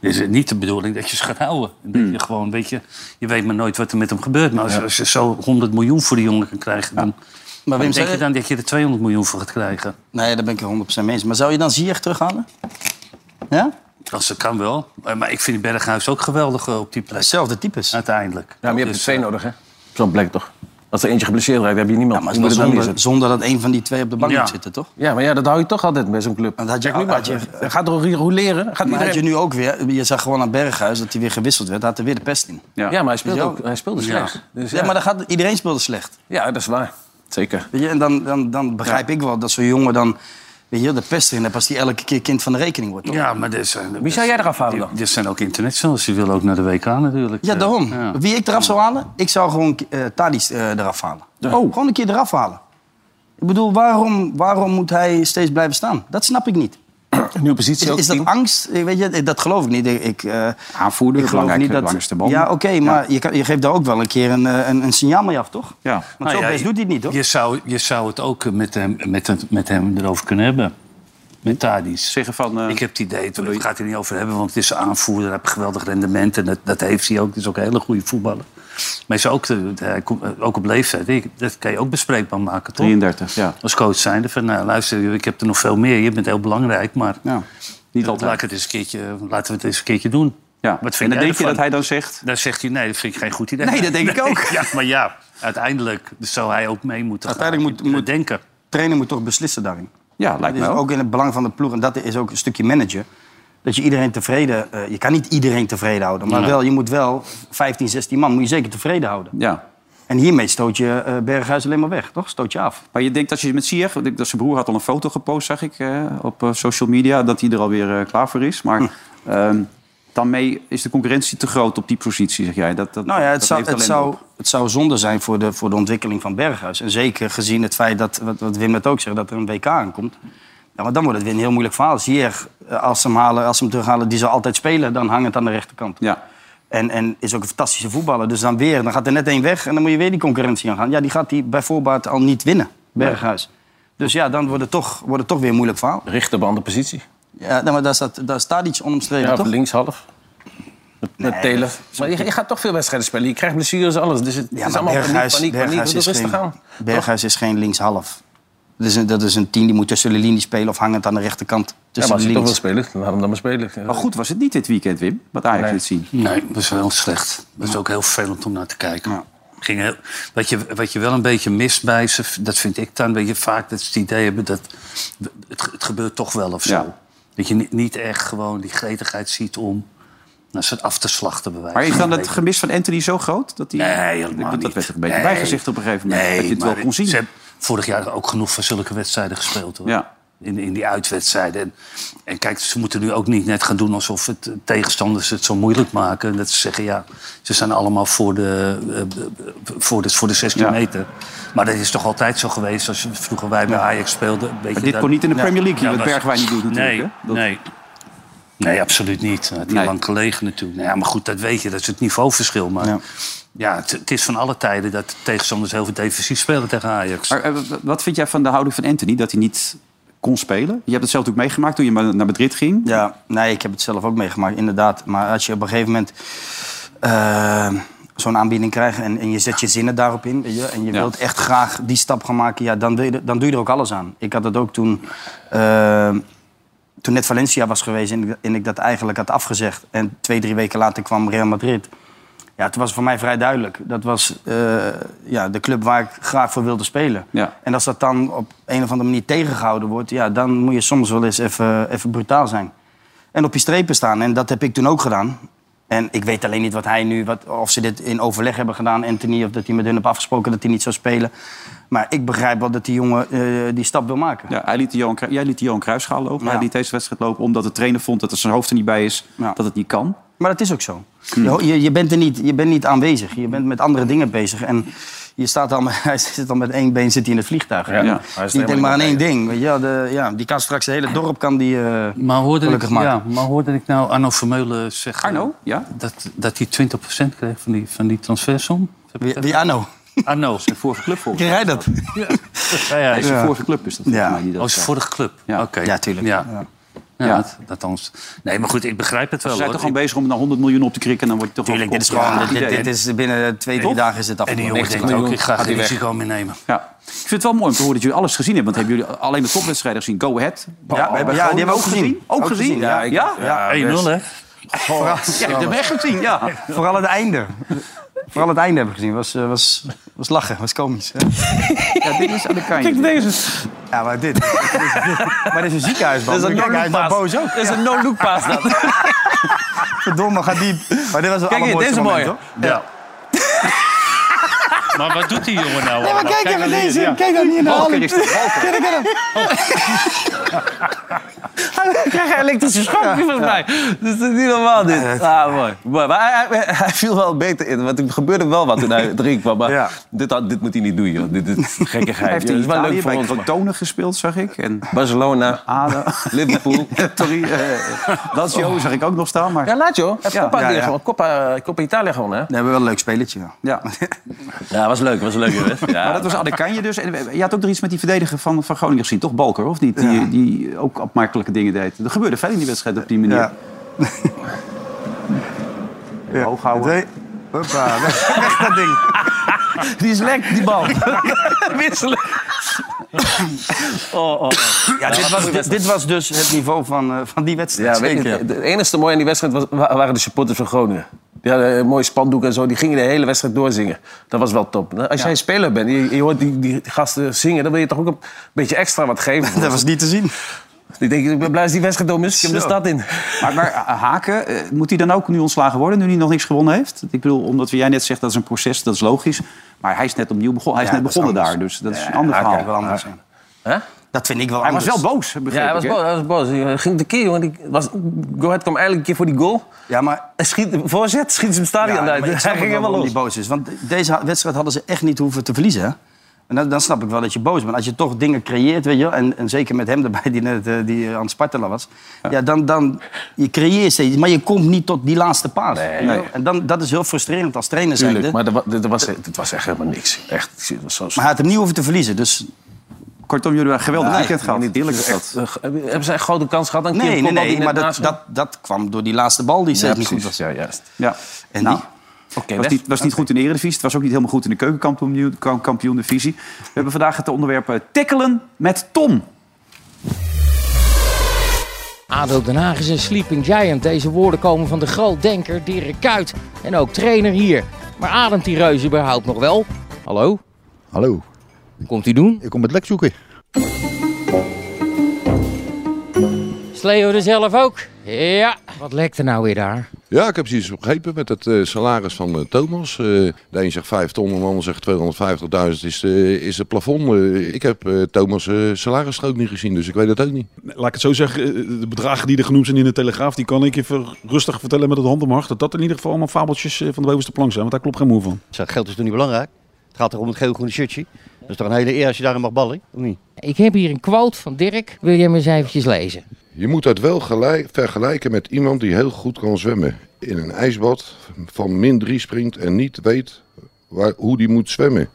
Dus het is niet de bedoeling dat je ze gaat houden. Dat
Hmm.
je, gewoon, weet je, je weet maar nooit wat er met hem gebeurt. Maar als, als je zo 100 miljoen voor die jongen kan krijgen... Dan,
Maar
dan
Wim,
denk
zou
je
je...
dan dat je er 200 miljoen voor gaat krijgen?
Nee, daar ben ik er 100% mee eens. Maar zou je dan Ziyech terughalen? Ja?
Als dat kan wel. Eh, Maar ik vind Berghuis ook geweldig eh, op die plek.
Hetzelfde types.
Uiteindelijk.
Ja, maar je hebt er
Dus,
twee
eh,
nodig, hè? Op Zo'n plek toch? Als er eentje geblesseerd raakt, heb je niemand.
Ja, maar
Hoe
het is
moet
wel
het dan
zonder, zonder dat een van die twee op de bank
Ja.
moet zitten, toch?
Ja, maar ja, dat hou je toch altijd bij zo'n club.
Want Nou, had je-
Kijk nu
had
maar.
je-
gaat er roleren. Gaat
Maar had
iedereen...
je nu ook weer, je zag gewoon aan Berghuis dat hij weer gewisseld werd, daar had er weer de pest in.
ja. maar hij speelde,
Ja.
ook, hij speelde slecht. Ja. Dus ja,
Ja, maar dan gaat, iedereen speelde slecht.
ja, dat is waar. Zeker.
Weet je, en dan, dan, dan begrijp ik wel dat zo'n jongen dan weet je, de pest erin hebt als die elke keer kind van de rekening wordt. toch?
Ja, maar eh, dit zijn,
Wie zou jij eraf halen dan?
dit zijn ook internationals. Die willen ook naar de WK natuurlijk.
Ja,
Eh,
daarom.
ja.
Wie ik eraf zou halen? Ik zou gewoon eh Tadic eh, eraf halen. Oh, gewoon een keer eraf halen. Ik bedoel, waarom, waarom moet hij steeds blijven staan? Dat snap ik niet.
Nieuwe positie
Is,
ook,
is dat
team.
angst? Ik Weet je, eh, dat geloof ik niet. Ik, ik, eh,
Aanvoerder,
ik geloof
belangrijk,
niet dat...
belangrijkste man.
Ja, oké, maar je, kan- je geeft daar ook wel een keer een, eh, een, een signaal mee af, toch?
Ja.
Want zo
Nou ja,
best doet hij het niet, hoor.
Je zou, je zou het ook eh, met hem, met, het- met hem erover kunnen hebben. Met Tadic.
Zeggen van... eh,
Ik heb het idee, daar gaat hij niet over hebben, want het is een aanvoerder, hij heeft een geweldig rendement en dat, dat heeft hij ook. Het is ook een hele goede voetballer. Maar hij is ook, de- hij komt, eh, ook op leeftijd, Ik- dat kan je ook bespreekbaar maken, toch?
33, ja.
Als coach zijnde van, nou, luister, ik heb er nog veel meer, je bent heel belangrijk, maar
ja. Niet
laat
altijd.
ik het eens een keertje, laten we het eens een keertje doen.
Ja.
Wat
en
vind
dan
jij
denk je
ervan?
dat hij dan zegt...
Dan zegt hij, nee, dat vind ik geen goed idee.
Nee, dat denk ik ook.
Ja, maar ja, uiteindelijk zou hij ook mee moeten gaan.
Uiteindelijk moet- moet-
denken.
De trainer moet toch beslissen daarin.
Ja, lijkt
dat
me
is
ook.
ook in het belang van de ploeg. En dat is ook een stukje manager. Dat je iedereen tevreden... eh, je kan niet iedereen tevreden houden. Maar
Nee.
wel, je moet wel 15, 16 man moet je zeker tevreden houden.
Ja.
En hiermee stoot je eh, Berghuis alleen maar weg, toch? Stoot je af.
Maar je denkt dat je met Sier, want ik- dat zijn broer had al een foto gepost, zag ik, eh, op eh, social media, dat hij er alweer eh, klaar voor is. Maar ehm, daarmee is de concurrentie te groot op die positie, zeg jij. Dat, dat,
Nou ja, het,
dat
zou,
leeft
het,
alleen
zou,
op.
het zou zonde zijn voor de, voor de ontwikkeling van Berghuis. En zeker gezien het feit dat, wat, wat Wim net ook zegt, dat er een WK aankomt. Ja, maar dan wordt het weer een heel moeilijk verhaal. Hier, als ze hem, halen, als ze hem terughalen, die zal altijd spelen, dan hangt het aan de rechterkant.
Ja.
En, en is ook een fantastische voetballer. Dus dan weer, dan gaat er net één weg en dan moet je weer die concurrentie aan gaan. Ja, die gaat die bij voorbaat al niet winnen, Berghuis. Dus ja, dan wordt het toch, wordt het toch weer een moeilijk verhaal.
Richt op een andere positie.
Ja, nou, maar daar staat, daar staat iets onomstreden,
Ja, of
toch?
linkshalf. Met, met
Nee,
Telen.
dat
Maar je, je gaat toch veel wedstrijden spelen. Je krijgt blessures, alles. Dus het
Ja,
is
maar
allemaal
Berghuis,
paniek, paniek, paniek.
Berghuis
Doe het
is
rustig
geen,
aan.
Berghuis is geen linkshalf. Dat is, een, dat is een tien die moet tussen de linies spelen of hangend aan de rechterkant.
Ja, maar
Tussen
als je
de
toch wil
linies.
spelen, dan laat hem dan maar spelen.
Maar goed was het niet dit weekend, Wim, wat Ajax
Nee.
liet zien.
Nee, dat was heel slecht. Dat is ook heel vervelend om naar te kijken.
Ja.
Ging heel, wat, je, wat je wel een beetje mist bij ze, dat vind ik dan, weet je, vaak dat ze het idee hebben dat het, het gebeurt toch wel of zo.
Ja.
Dat je niet, niet echt gewoon die gretigheid ziet om naar ze af te slachten bij wijze
Maar is
van
dan het
spreken.
gemis van Anthony zo groot? Dat die,
Nee, helemaal
dat,
niet.
Dat werd toch een beetje
Nee.
bijgezicht op een gegeven moment.
Nee,
dat je het wel
maar
kon zien.
Ze hebben vorig jaar ook genoeg van zulke wedstrijden gespeeld. Hoor.
Ja.
In, in die uitwedstrijden. En, en kijk, ze moeten nu ook niet net gaan doen alsof het eh, tegenstanders het zo moeilijk maken. En Dat ze zeggen, ja, ze zijn allemaal voor de, eh, voor de, voor de 16
Ja.
meter. Maar dat is toch altijd zo geweest als vroeger wij bij Ajax speelden. Weet je,
maar dit
dat-
kon niet in de
Ja.
Premier League,
Ja,
wat
dat-
Bergwijn niet doet natuurlijk.
Nee,
hè? Dat-
nee. Nee, absoluut niet. Dat had hij
Nee.
lang gelegen natuurlijk. Nou ja, maar goed, dat weet je. Dat is het niveauverschil. Maar ja,
Ja.
het, het is van alle tijden dat tegenstanders heel veel defensief spelen tegen Ajax.
Maar eh, w- wat vind jij van de houding van Anthony, dat hij niet kon spelen? Je hebt het zelf natuurlijk meegemaakt toen je maar naar Madrid ging.
Ja, nee, ik heb het zelf ook meegemaakt, inderdaad. Maar als je op een gegeven moment eh, zo'n aanbieding krijgt en, en je zet je zinnen daarop in... weet je, en je
Ja.
wilt echt graag die stap gaan maken, ja, dan, wil je, er- dan doe je er ook alles aan. Ik had dat ook toen... eh, toen net Valencia was geweest en ik, en ik dat eigenlijk had afgezegd... en twee, drie weken later kwam Real Madrid... Ja, het was voor mij vrij duidelijk. Dat was eh, ja, de club waar ik graag voor wilde spelen.
Ja.
En als dat dan op een of andere manier tegengehouden wordt... Ja, dan moet je soms wel eens even, even brutaal zijn. En op je strepen staan. En dat heb ik toen ook gedaan. En ik weet alleen niet wat hij nu, wat, of ze dit in overleg hebben gedaan, Anthony. Of dat hij met hun heeft afgesproken dat hij niet zou spelen. Maar ik begrijp wel dat die jongen eh, die stap wil maken.
Ja, hij liet de Johan, Cru- jij liet de Johan Cruijffschaal lopen.
Ja.
Hij liet deze wedstrijd lopen omdat de trainer vond dat er zijn hoofd er niet bij is.
Ja.
Dat het niet kan.
Maar dat is ook zo. Je, ho- je, je bent er niet, je bent niet aanwezig. Je bent met andere dingen bezig. En je staat al met, (laughs) hij zit al met één been zit hij in het vliegtuig.
Ja,
Ja.
hij is
Die denkt
helemaal
maar aan
niet
één ding. Weet je, wel. de, ja, die kan straks het hele dorp kan die, eh,
Maar hoorde, ik,
gelukkig maken.
ja, maar hoorde ik nou Arno Vermeulen zeggen...
Arno, ja.
Dat, dat hij 20% kreeg van die, van die transfersom? Oh,
Wie, wie Anno?
Arno. (laughs)
Zijn vorige club volgens
Kreeg hij dat?
Ja, ja.
mij. Zijn vorige club is dat volgens
Ja.
mij. Die dat,
Oh, zijn vorige club?
Ja.
Oké.
Ja, tuurlijk.
Ja.
Ja.
Ja,
Ja.
dat- dat anders. Nee, maar goed, ik begrijp het wel.
Ze zijn
hoor.
toch gewoon bezig om naar 100 miljoen op te krikken. Dan word je toch
Tuurlijk,
wel
dit is gewoon,
opgekocht.
dit,
Ja,
dit is binnen twee, drie dagen is het
En die
afgelopen.
jongen denkt ook, ik ga
Gaat
geen
hij weg.
risico meer nemen.
Ja. Ik vind het wel mooi om te horen dat jullie alles gezien hebben. Want hebben jullie alleen de topwedstrijden gezien? Go Ahead.
Ja, we hebben Groningen ook gezien.
Ook
Ook
gezien?
gezien,
Ja?
ja.
Ja? ja?
1-0, hè?
je hebt hem echt gezien, ja.
Vooral het einde. Vooral het einde hebben we gezien. Was, eh, was, was lachen, was komisch. hè?
ja dit is aan de kantje.
Ja, maar dit. (laughs) maar dit is een ziekenhuisband.
Dat is een
Kijk, hij is wel
no-look
boos ook.
Dat is een no-look pass. Dat.
(laughs)
Verdomme, gaat diep. Maar dit was het
Kijk, dit
allermooiste
is
moment,
mooi.
hoor.
Ja. Maar wat doet die jongen
Nee,
nou?
maar
allemaal?
kijk even
naar
deze.
die-
Kijk dan hier naar Ali. Kijk, kijk hem.
Hij krijgt een elektrische schok volgens mij. Dus dat is niet normaal dit. Ah, mooi. Maar hij, hij, hij viel wel beter in, want er gebeurde wel wat toen
(laughs)
hij erin kwam. Maar
Ja.
dit, had- dit moet hij niet doen, joh. Dit, dit is gekkigheid.
Hij heeft
joh.
in
Het is wel leuk
Italië
voor
bij
ons. maar-
Crotone gespeeld, zag ik. En
Barcelona,
Ado, (laughs)
Liverpool.
Torino, eh, Lazio zag ik ook nog staan. Maar
Ja, laat joh. Heb
Ja,
Coppa
ja,
die
ja.
gewoon. Coppa, Coppa eh, Italia gewoon, hè?
We hebben wel een leuk spelletje. ja.
Ja.
Ja, was leuk. Was leuk, joh. Ja.
Maar dat was Adekanje dus. En eh, je had ook nog iets met die verdediger van, van Groningen gezien, toch? Balker, of niet? Die, die ook opmerkelijke dingen deed. Er gebeurde veel in die wedstrijd op die manier.
Ja.
Ja. Hoog houden.
Hoppa, (laughs) weg, weg dat ding.
Die is lek, die bal. Wisselen. Oh, oh, oh.
Ja, dit, was, dit, dit was dus het niveau van, eh, van die wedstrijd.
(laughs) Ja, weet je, het, het enige mooie in die wedstrijd was, wa- waren de supporters van Groningen. Die hadden een mooi spandoek en zo. Die gingen de hele wedstrijd doorzingen. Dat was wel top. Als jij speler bent en je, je hoort die, die gasten zingen... dan wil je toch ook een beetje extra wat (laughs) geven.
Dat was niet te zien.
Ik denk, ik ben blij dat die wedstrijd door is. Ik heb de
Zo.
stad in.
Maar, maar eh, Haken, eh, moet hij dan ook nu ontslagen worden, nu hij nog niks gewonnen heeft? Ik bedoel, omdat jij net zegt dat is een proces, dat is logisch. Maar hij is net opnieuw begonnen. Hij is
Ja,
net
dat is
begonnen daar,
anders.
dus dat is een ander verhaal.
Wel anders, ja.
Hè?
Dat vind ik wel
Hij was
anders.
wel boos, begreep
Ja, hij was
ik, hè?
boos. Hij was boos. Hij ging de keer, jongen. Die was, Go Ahead kwam eigenlijk een keer voor die goal.
Ja, maar...
En schiet, voorzet, schiet ze hem stadion
Ja,
uit.
maar ik snap
Hij ging
ook wel
helemaal
waarom
los.
die boos is. Want deze wedstrijd hadden ze echt niet hoeven te verliezen. hè? En dan, dan snap ik wel dat je boos bent. Als je toch dingen creëert, weet je wel, en, en zeker met hem erbij die, net, eh, die eh, aan het spartelen was. Ja, dan, dan je creëert steeds, maar je komt niet tot die laatste paas. weet je wel. En dan, dat is heel frustrerend als trainer zijn.
Tuurlijk,
Maar, maar
maar dat, wa- dat was, dat was echt helemaal niks. Echt, het was zo
hij had hem niet hoeven te verliezen. Dus
Kortom, jullie hebben een geweldig
Nee,
weekend gehad. Dus
niet
Heerlijk
eerlijk
is dat.
eh, hebben zij een grote kans gehad? Een keer
nee,
een
nee,
kopbal die
nee,
net
maar dat,
naast-
dat, dat kwam door die laatste bal die steeds niet goed
precies.
was.
Ja, juist.
Ja.
En
Nou,
die?
Oké,
was
weg.
niet, was niet goed in de Eredivisie. Het was ook niet helemaal goed in de keukenkampioen-divisie. We hebben vandaag het onderwerp eh, tackelen met Tom.
ADO Den Haag is een sleeping giant. Deze woorden komen van de grootdenker Dirk Kuyt en ook trainer hier. Maar ademt die reuze überhaupt nog wel? Hallo,
Hallo,
komt hij doen?
ik kom het lek zoeken.
Sleo er zelf ook? Ja, wat lekt er nou weer daar?
Ja, ik heb precies begrepen met het eh, salaris van eh, Thomas. Eh, de een zegt 5 ton en de ander zegt 250.000 is, eh, is het plafond. Eh, ik heb eh, Thomas' eh salarisstrook niet gezien, dus ik weet het ook niet.
Laat ik het zo zeggen, eh, de bedragen die er genoemd zijn in de Telegraaf... die kan ik je ver- rustig vertellen met het hand om mijn hart... dat dat in ieder geval allemaal fabeltjes eh, van de bovenste plank zijn. Want daar klopt geen moe van.
Ik zeg, geld is toch niet belangrijk? Het gaat toch om het geel-groene shirtje? Dat is toch een hele eer als je daarin mag ballen, of niet?
Ik heb hier een quote van Dirk. Wil jij hem eens eventjes lezen?
Je moet dat wel gelijk, vergelijken met iemand die heel goed kan zwemmen. In een ijsbad van min 3 springt en niet weet waar, hoe die moet zwemmen.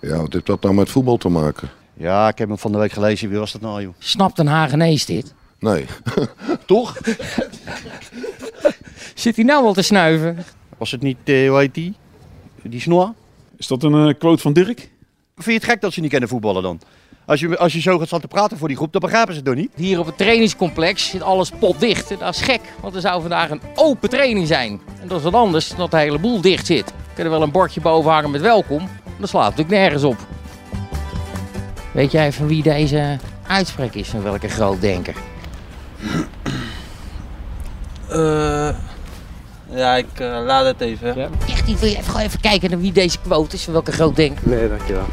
Ja, wat heeft dat nou met voetbal te maken? Ja, ik heb hem van de week gelezen. Wie was dat nou, joh?
Snapt Den Haag ineens dit?
Nee. (laughs) Toch?
Zit hij nou al te snuiven?
Was het niet, eh, hoe heet die? Die Snoa?
Is dat een eh, quote van Dirk?
Vind je het gek dat ze niet kennen voetballen dan? Als je, als je zo gaat staan te praten voor die groep, dan begrijpen ze het toch niet?
Hier op het trainingscomplex zit alles potdicht. Dat is gek, want er zou vandaag een open training zijn. En dat is wat anders dan dat de hele boel dicht zit. We kunnen wel een bordje boven hangen met welkom, maar dat slaat natuurlijk nergens op. Weet jij van wie deze uitspraak is, van welke grootdenker?
Eh, Ja, ik eh, laat het even.
Echt niet, wil je even, gewoon even kijken naar wie deze quote is, van welke grootdenker? Nee, dankjewel.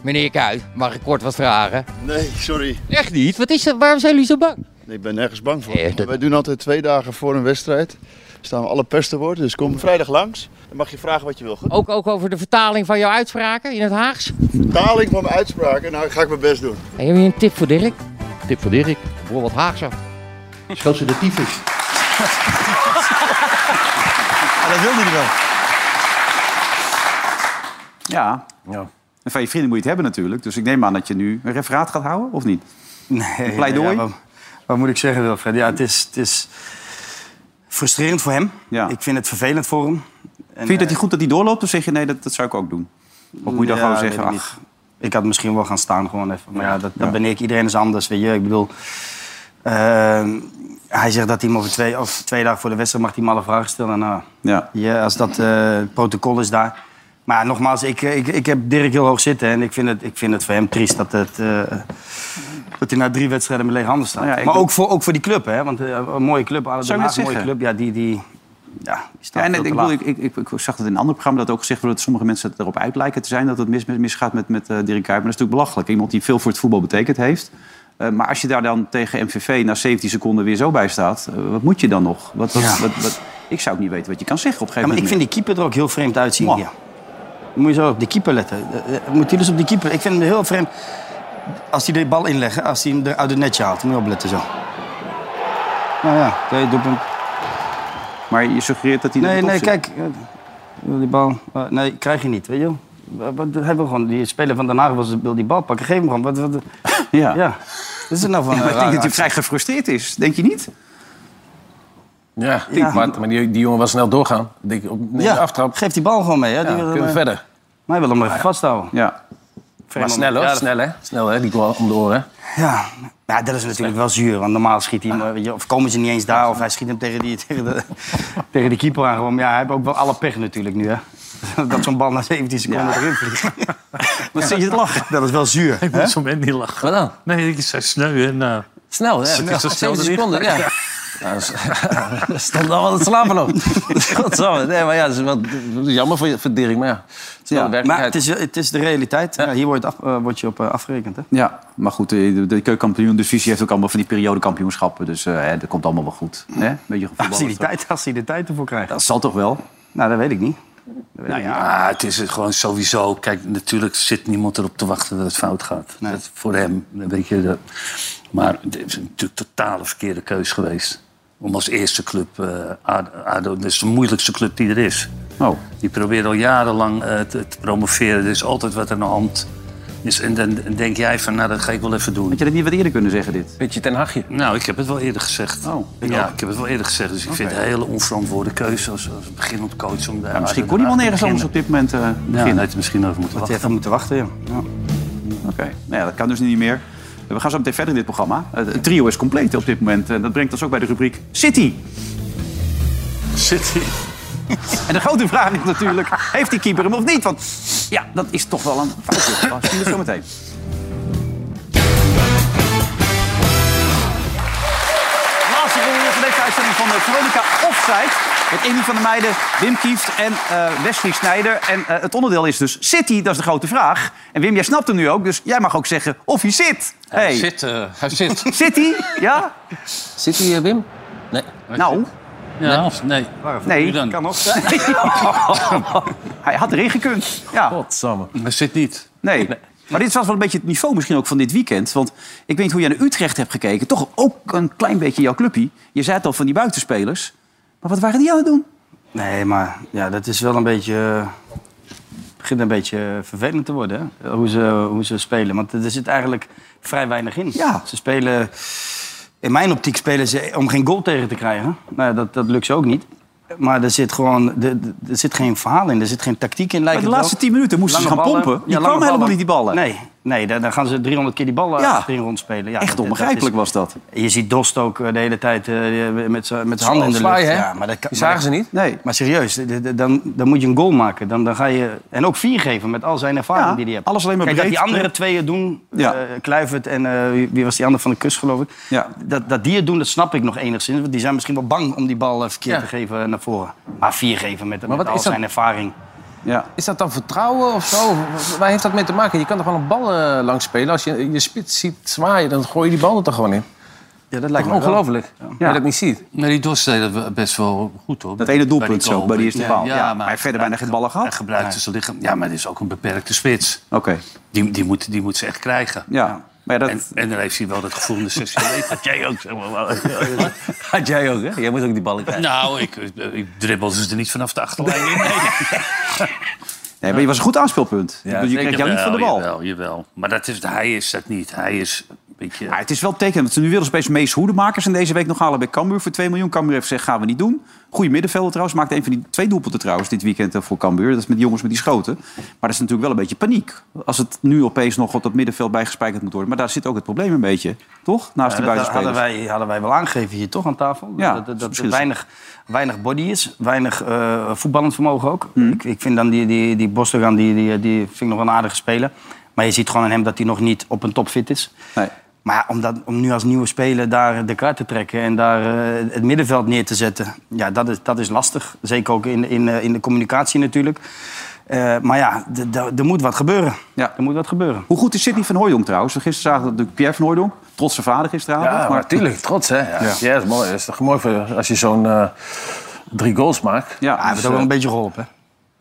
Meneer Kuij, mag ik kort wat vragen?
Nee, sorry.
Echt niet? Wat is dat? Waarom zijn jullie zo bang?
Ik ben nergens bang voor.
Nee, dat-
Wij doen altijd twee dagen voor een wedstrijd. Staan we alle pers te worden, dus kom vrijdag langs. Dan mag je vragen wat je wil. Goed.
Ook, ook over de vertaling van jouw uitspraken in het Haags?
Vertaling van mijn uitspraken, nou ga ik mijn best doen.
Heb je een tip voor Dirk?
Tip voor Dirk, voor wat Haagse. Schoot ze de tyfus.
dat wilde hij wel.
Ja. En van je vrienden moet je het hebben natuurlijk. Dus ik neem aan dat je nu een referaat gaat houden, of niet?
Nee,
pleidooi?
ja, wat, wat moet ik zeggen, Wilfred? Ja, het is, het is frustrerend voor hem.
Ja.
Ik vind het vervelend voor hem. En,
Vind je dat
eh,
hij goed dat hij doorloopt? Of zeg je nee, dat, dat zou ik ook doen? Of moet je dan
ja,
gewoon
weet
zeggen,
ik
ach,
niet. Ik had misschien wel gaan staan gewoon even. Maar ja, dat, dat
Ja.
ben ik. Iedereen is anders, weet je. Ik bedoel... eh, hij zegt dat hij hem over twee, of twee dagen voor de wedstrijd mag die malle vragen stellen. Nou,
ja.
ja, als dat eh, het protocol is daar. Maar nogmaals, ik, eh, ik, ik heb Dirk heel hoog zitten. En ik vind het, ik vind het voor hem triest dat, het, eh, dat hij na drie wedstrijden met lege handen staat.
Nou ja, ik
maar
ben-
ook voor, ook voor die club, hè? Want eh, een mooie club, Aden
Zou
Den
ik
Haag,
net
een mooie
zeggen?
club. Ja, die, die, ja,
Ja, en ik, bedoel, ik, ik, ik, ik zag dat in een ander programma dat ook gezegd wordt dat sommige mensen erop uit lijken te zijn dat het mis, misgaat met, met eh, Dirk Kuyt. Maar dat is natuurlijk belachelijk. Iemand die veel voor het voetbal betekend heeft. Eh, maar als je daar dan tegen MVV na 17 seconden weer zo bij staat, eh, wat moet je dan nog? Wat, wat, wat, wat- ik zou ook niet weten wat je kan zeggen op een
Ja,
gegeven
maar ik
moment.
vind die keeper er ook heel vreemd uitzien. Ja. Dan moet je zo op die keeper letten. Eh, eh, Moet je dus op die keeper. Ik vind hem heel vreemd. Als hij de bal inlegt, als hij hem er uit het netje haalt, moet je opletten zo. Nou ja, je doet hem.
Maar je suggereert dat hij
Nee,
er
nee,
niet op zit.
kijk. eh, wil Die bal. eh, Nee, krijg je niet, weet je wel. Wat- Wat hebben we gewoon? Die speler van Den Haag was, wil die bal pakken. Geef hem gewoon. Wat, wat,
ja.
ja. Wat is het nou van?
Ja, maar (laughs) ik denk
eh, rare
dat hij
actie?
vrij gefrustreerd is, denk je niet?
Ja,
Ja.
maar, maar die, die jongen was snel doorgaan. Ik Denk, op, neem
Ja,
de aftrap.
Geef die bal gewoon mee. Hè?
Ja, kunnen we verder.
Maar hij wil hem even vasthouden.
Ja.
Maar snel hoor,
Ja, dat-
snel hè. Snel hè, die goal om de oren.
Ja, ja, dat is natuurlijk wel zuur. Want normaal schiet hij hem, eh, weet je, of komen ze niet eens daar, of hij schiet hem tegen, die, (laughs) tegen, de, tegen de keeper aan. Gewoon. Maar Ja, hij heeft ook wel alle pech natuurlijk nu, hè. (laughs) Dat zo'n bal na 17 seconden erin vliegt.
Wat zit je te lachen?
Dat is wel zuur.
Ik moet zo'n moment niet lachen.
Wat dan?
Nee, ik zei sneu en... eh,
Snel hè.
Snel.
Zo snel
Zeven
seconden, ja.
seconden,
(laughs) Nou, dat is- (laughs) Stond allemaal te slapen nog. (laughs) Godsamme. Nee, maar ja, dat is wel dat is jammer voor, je- voor Dirk, maar ja. Het is wel
Ja,
de
maar
werkelijkheid.
het is, het is de realiteit. Ja, hier word je, af, eh, word je op eh, afgerekend, hè.
Ja, maar goed, eh, de, de keukenkampioen divisie heeft ook allemaal van die periodekampioenschappen. Dus eh, hè, dat komt allemaal wel goed. Hè? Beetje
Als hij,
gevoetbal.
die tijd, als hij de tijd ervoor krijgt.
Dat zal toch wel?
Nou, dat weet ik niet.
Nou ja, het is het gewoon sowieso. Kijk, natuurlijk zit niemand erop te wachten dat het fout gaat. Dat, voor hem, weet je. Dat. Maar het is natuurlijk een totale verkeerde keus geweest. Om als eerste club eh, ADO, ADO... Dat is de moeilijkste club die er is.
Oh.
Die probeert al jarenlang eh, te, te promoveren. Er is altijd wat aan de hand. Dus, en dan denk jij van, nou, dat ga ik wel even doen.
Had je dat niet wat eerder kunnen zeggen, dit?
Beetje ten hagje.
Nou, ik heb het wel eerder gezegd.
Oh, ik
ja,
ook.
ik heb het wel eerder gezegd. Dus ik vind het een hele onverantwoorde keuze als, als beginnend coach. Om daar
Ja, misschien
te-
kon iemand
te
nergens anders
beginnen.
op dit moment eh
Ja,
beginnen.
nee, het misschien over moeten
Dat hij
wachten.
even moeten wachten, ja. ja.
Oké, nou ja, dat kan dus niet meer. We gaan zo meteen verder in dit programma. Het het trio is compleet op dit moment. En dat brengt ons ook bij de rubriek City.
City.
En de grote vraag is natuurlijk, heeft die keeper hem of niet? Want ja, dat is toch wel een foutje. Maar zien we zo meteen. Laatste ronde van deze uitzending van de Veronica Offside. Met Emmy van der Meijden, Wim Kieft en eh, Wesley Snijder. En eh, het onderdeel is dus City, dat is de grote vraag. En Wim, jij snapt hem nu ook, dus jij mag ook zeggen of hij zit.
Hij
Hey.
zit, eh, hij zit.
City, ja?
Zit hij, eh, Wim? Nee.
Nou,
Ja, nee. of nee.
nee.
Kan nog zijn.
Hij had erin gekund. Ja,
Godsamme.
Maar zit niet.
nee. Maar dit was wel een beetje het niveau misschien ook van dit weekend. Want ik weet niet hoe jij naar Utrecht hebt gekeken. Toch ook een klein beetje jouw clubje. Je zei het al van die buitenspelers. Maar wat waren die aan het doen?
Nee, maar ja, dat is wel een beetje. eh, Het begint een beetje eh, vervelend te worden, hè? Hoe, ze, hoe ze spelen. Want er zit eigenlijk vrij weinig in.
Ja.
Ze spelen. In mijn optiek spelen ze om geen goal tegen te krijgen. Nou ja, dat, dat lukt ze ook niet. Maar er zit gewoon er, er zit geen verhaal in, er zit geen tactiek in. Lijkt
de
het wel.
laatste 10 minuten moesten ze
Lange
gaan
ballen.
pompen. Die
lange
kwamen helemaal niet, die ballen.
Nee, nee dan, dan gaan ze 300 keer die ballen
Ja.
achterin rondspelen. Ja, dat-
Echt
dat- dat
onbegrijpelijk was
is-
dat.
je ziet Dost ook eh, de hele tijd eh, met zijn met zijn handen in de lucht.
Zwaai, hè?
Ja, maar dat, kan-
Die
maar
zagen
dat-
ze niet.
Nee.
maar serieus, d- d- dan, dan moet je een goal maken. Dan, dan ga je, en ook vier geven met al zijn ervaring
Ja,
die hij heeft.
alles alleen maar
Kijk, dat
breed.
die andere twee het doen,
Ja.
eh, Kluivert en eh, wie- wie was die andere van de kus, geloof ik.
Ja.
Dat, dat die het doen, dat snap ik nog enigszins. Want die zijn misschien wel bang om die bal eh, verkeerd
Ja.
te geven naar voren. Maar vier geven met, met
wat
al
is dat?
zijn ervaring.
Ja.
Is dat dan vertrouwen of zo? Waar heeft dat mee te maken? Je kan toch gewoon een bal eh, langs spelen? Als je je spits ziet zwaaien, dan gooi je die bal er toch gewoon in? Oh
Ja, dat lijkt me wel.
Ongelooflijk. Dat je dat niet ziet.
Nee, die Dost deed dat best wel goed, hoor.
Dat ene doelpunt
die goal.
zo, bij die eerste paal. Ja, maar hij heeft verder bijna
hij
geen ballen gehad.
Hij gebruikte zijn lichaam. Ja, maar dit is ook een beperkte spits.
Oké,
Die, die, moet, die moet ze echt krijgen.
ja. Maar ja, dat...
En, en dan heeft hij wel dat gevoel in de (laughs) 16 Had jij ook, zeg maar. wel.
(laughs) Had jij ook, hè? Jij moet ook die ballen krijgen.
Nou, ik, ik dribbel ze er niet vanaf de achterlijn (laughs) in. Nee.
Nee, maar je was een goed aanspeelpunt. Ik bedoel, je kreeg jou niet van de bal.
Jawel, jawel. Maar dat is, hij is dat niet. Hij is een beetje...
Ja, het is wel tekenend. want Ze nu willen ze opeens Mees Hoedemakers en deze week nog halen bij Cambuur voor 2 miljoen. Cambuur heeft gezegd, gaan we niet doen. Goeie middenvelder trouwens. Maakte een van die twee doelpunten trouwens dit weekend eh, voor Cambuur. Dat is met die jongens met die schoten. Maar dat is natuurlijk wel een beetje paniek. Als het nu opeens nog op dat middenveld bijgespijkerd moet worden. Maar daar zit ook het probleem een beetje, toch? Naast die
Ja, dat
buitenspelers.
hadden wij, hadden wij wel aangegeven hier toch aan tafel.
Ja,
dat dat, dat
misschien
er
is-
weinig, weinig body is, weinig eh, voetballend vermogen ook.
Mhm.
Ik, ik vind dan die, die, die Bostogan, die, die, die vind ik nog wel een aardige speler. Maar je ziet gewoon aan hem dat hij nog niet op een topfit is.
Nee.
Maar om, dat, om nu als nieuwe speler daar eh, de kaart te trekken en daar eh, het middenveld neer te zetten, ja, dat, is, dat is lastig. Zeker ook in, in, eh, in de communicatie natuurlijk. Eh, maar ja, d- d- er moet wat gebeuren.
Ja.
Er moet wat gebeuren.
Hoe goed is Sidney van Hooydonk trouwens? Gisteren zagen we natuurlijk Pierre van Hooydonk. Trotse vader gisteravond.
Ja, maar tuurlijk, trots hè. Ja,
Ja.
ja. is mooi. is toch mooi voor, als je zo'n eh, drie goals maakt.
Ja, dus, eh, hij
heeft ook wel een beetje geholpen.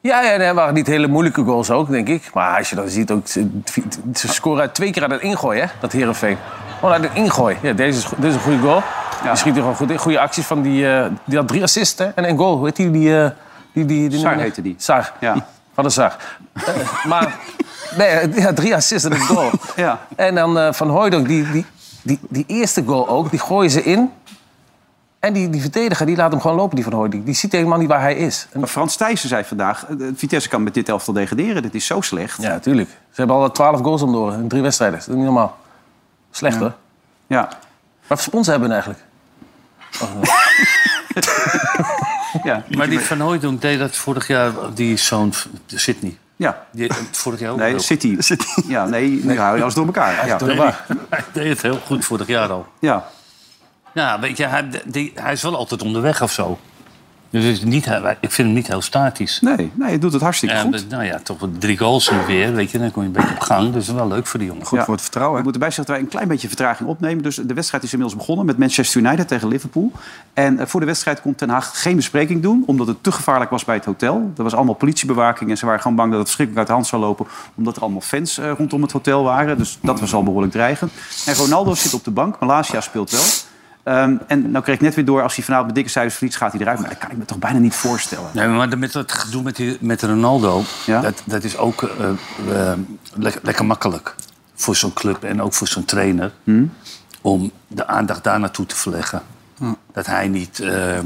Ja, ja, nee, het waren niet hele moeilijke goals ook, denk ik. Maar als je dan ziet, ook, ze ze scoren uit twee keer uit het ingooi, hè, dat Herenveen. Gewoon uit het ingooi. Ja, deze, is, go- dit is een goede goal. Die schiet er gewoon goed in. Goede acties van die... eh, die had drie assists hè, en één goal. Hoe heet die? die, eh, die, die, die
Sar
nummer-
heette die.
Sar.
Ja.
Van de Sar. Eh, maar nee, ja, drie assists en een goal.
Ja.
En dan eh, Van Hooijdonk, die, die, die, die eerste goal ook, die gooien ze in. En die, die verdediger die laat hem gewoon lopen, die Van Hooijdonk. Die ziet helemaal niet waar hij is.
(laughs) Maar Frans Thijssen zei vandaag... eh, Vitesse kan met dit elftal degraderen. Dit is zo slecht.
Ja, tuurlijk. Ze hebben al 12 goals om de oren in drie wedstrijden. Dat is niet normaal. Slecht hoor.
Ja.
Wat voor spons hebben we eigenlijk? (laughs)
Ja,
Maar die Van Hooijdonk deed dat vorig jaar, die zoon v- de Sydney.
Ja.
Die, eh, vorig jaar ook
Nee,
wel.
(laughs) City. Ja, nee, nu hou je alles door elkaar. Ja.
Nee, die- (laughs) hij deed het heel goed vorig jaar al.
Ja.
Ja, weet je, hij, die- hij is wel altijd onderweg of zo. Dus het is niet, hij- ik vind hem niet heel statisch.
Nee, nee, hij doet het hartstikke
Ja,
goed.
Nou ja, toch wel drie goals nu weer. Weet je, dan kom je een beetje op gang. Dus wel leuk voor die jongen.
Ja. Ik moet erbij zeggen dat wij een klein beetje vertraging opnemen. Dus de wedstrijd is inmiddels begonnen met Manchester United tegen Liverpool. En eh, voor de wedstrijd kon Ten Haag geen bespreking doen... omdat het te gevaarlijk was bij het hotel. Er was allemaal politiebewaking en ze waren gewoon bang dat het verschrikkelijk uit de hand zou lopen... omdat er allemaal fans eh, rondom het hotel waren. Dus dat was al behoorlijk dreigend. En Ronaldo zit op de bank. Malasia speelt wel. Ehm, en nou kreeg ik net weer door, als hij vanavond met dikke cijfers verliest... gaat hij eruit. Maar dat kan ik me toch bijna niet voorstellen.
Nee, maar met dat gedoe met, die, met Ronaldo, dat, dat is ook eh, eh, lekker, lekker makkelijk voor zo'n club en ook voor zo'n trainer om de aandacht daar naartoe te verleggen. Dat hij, niet, eh, eh,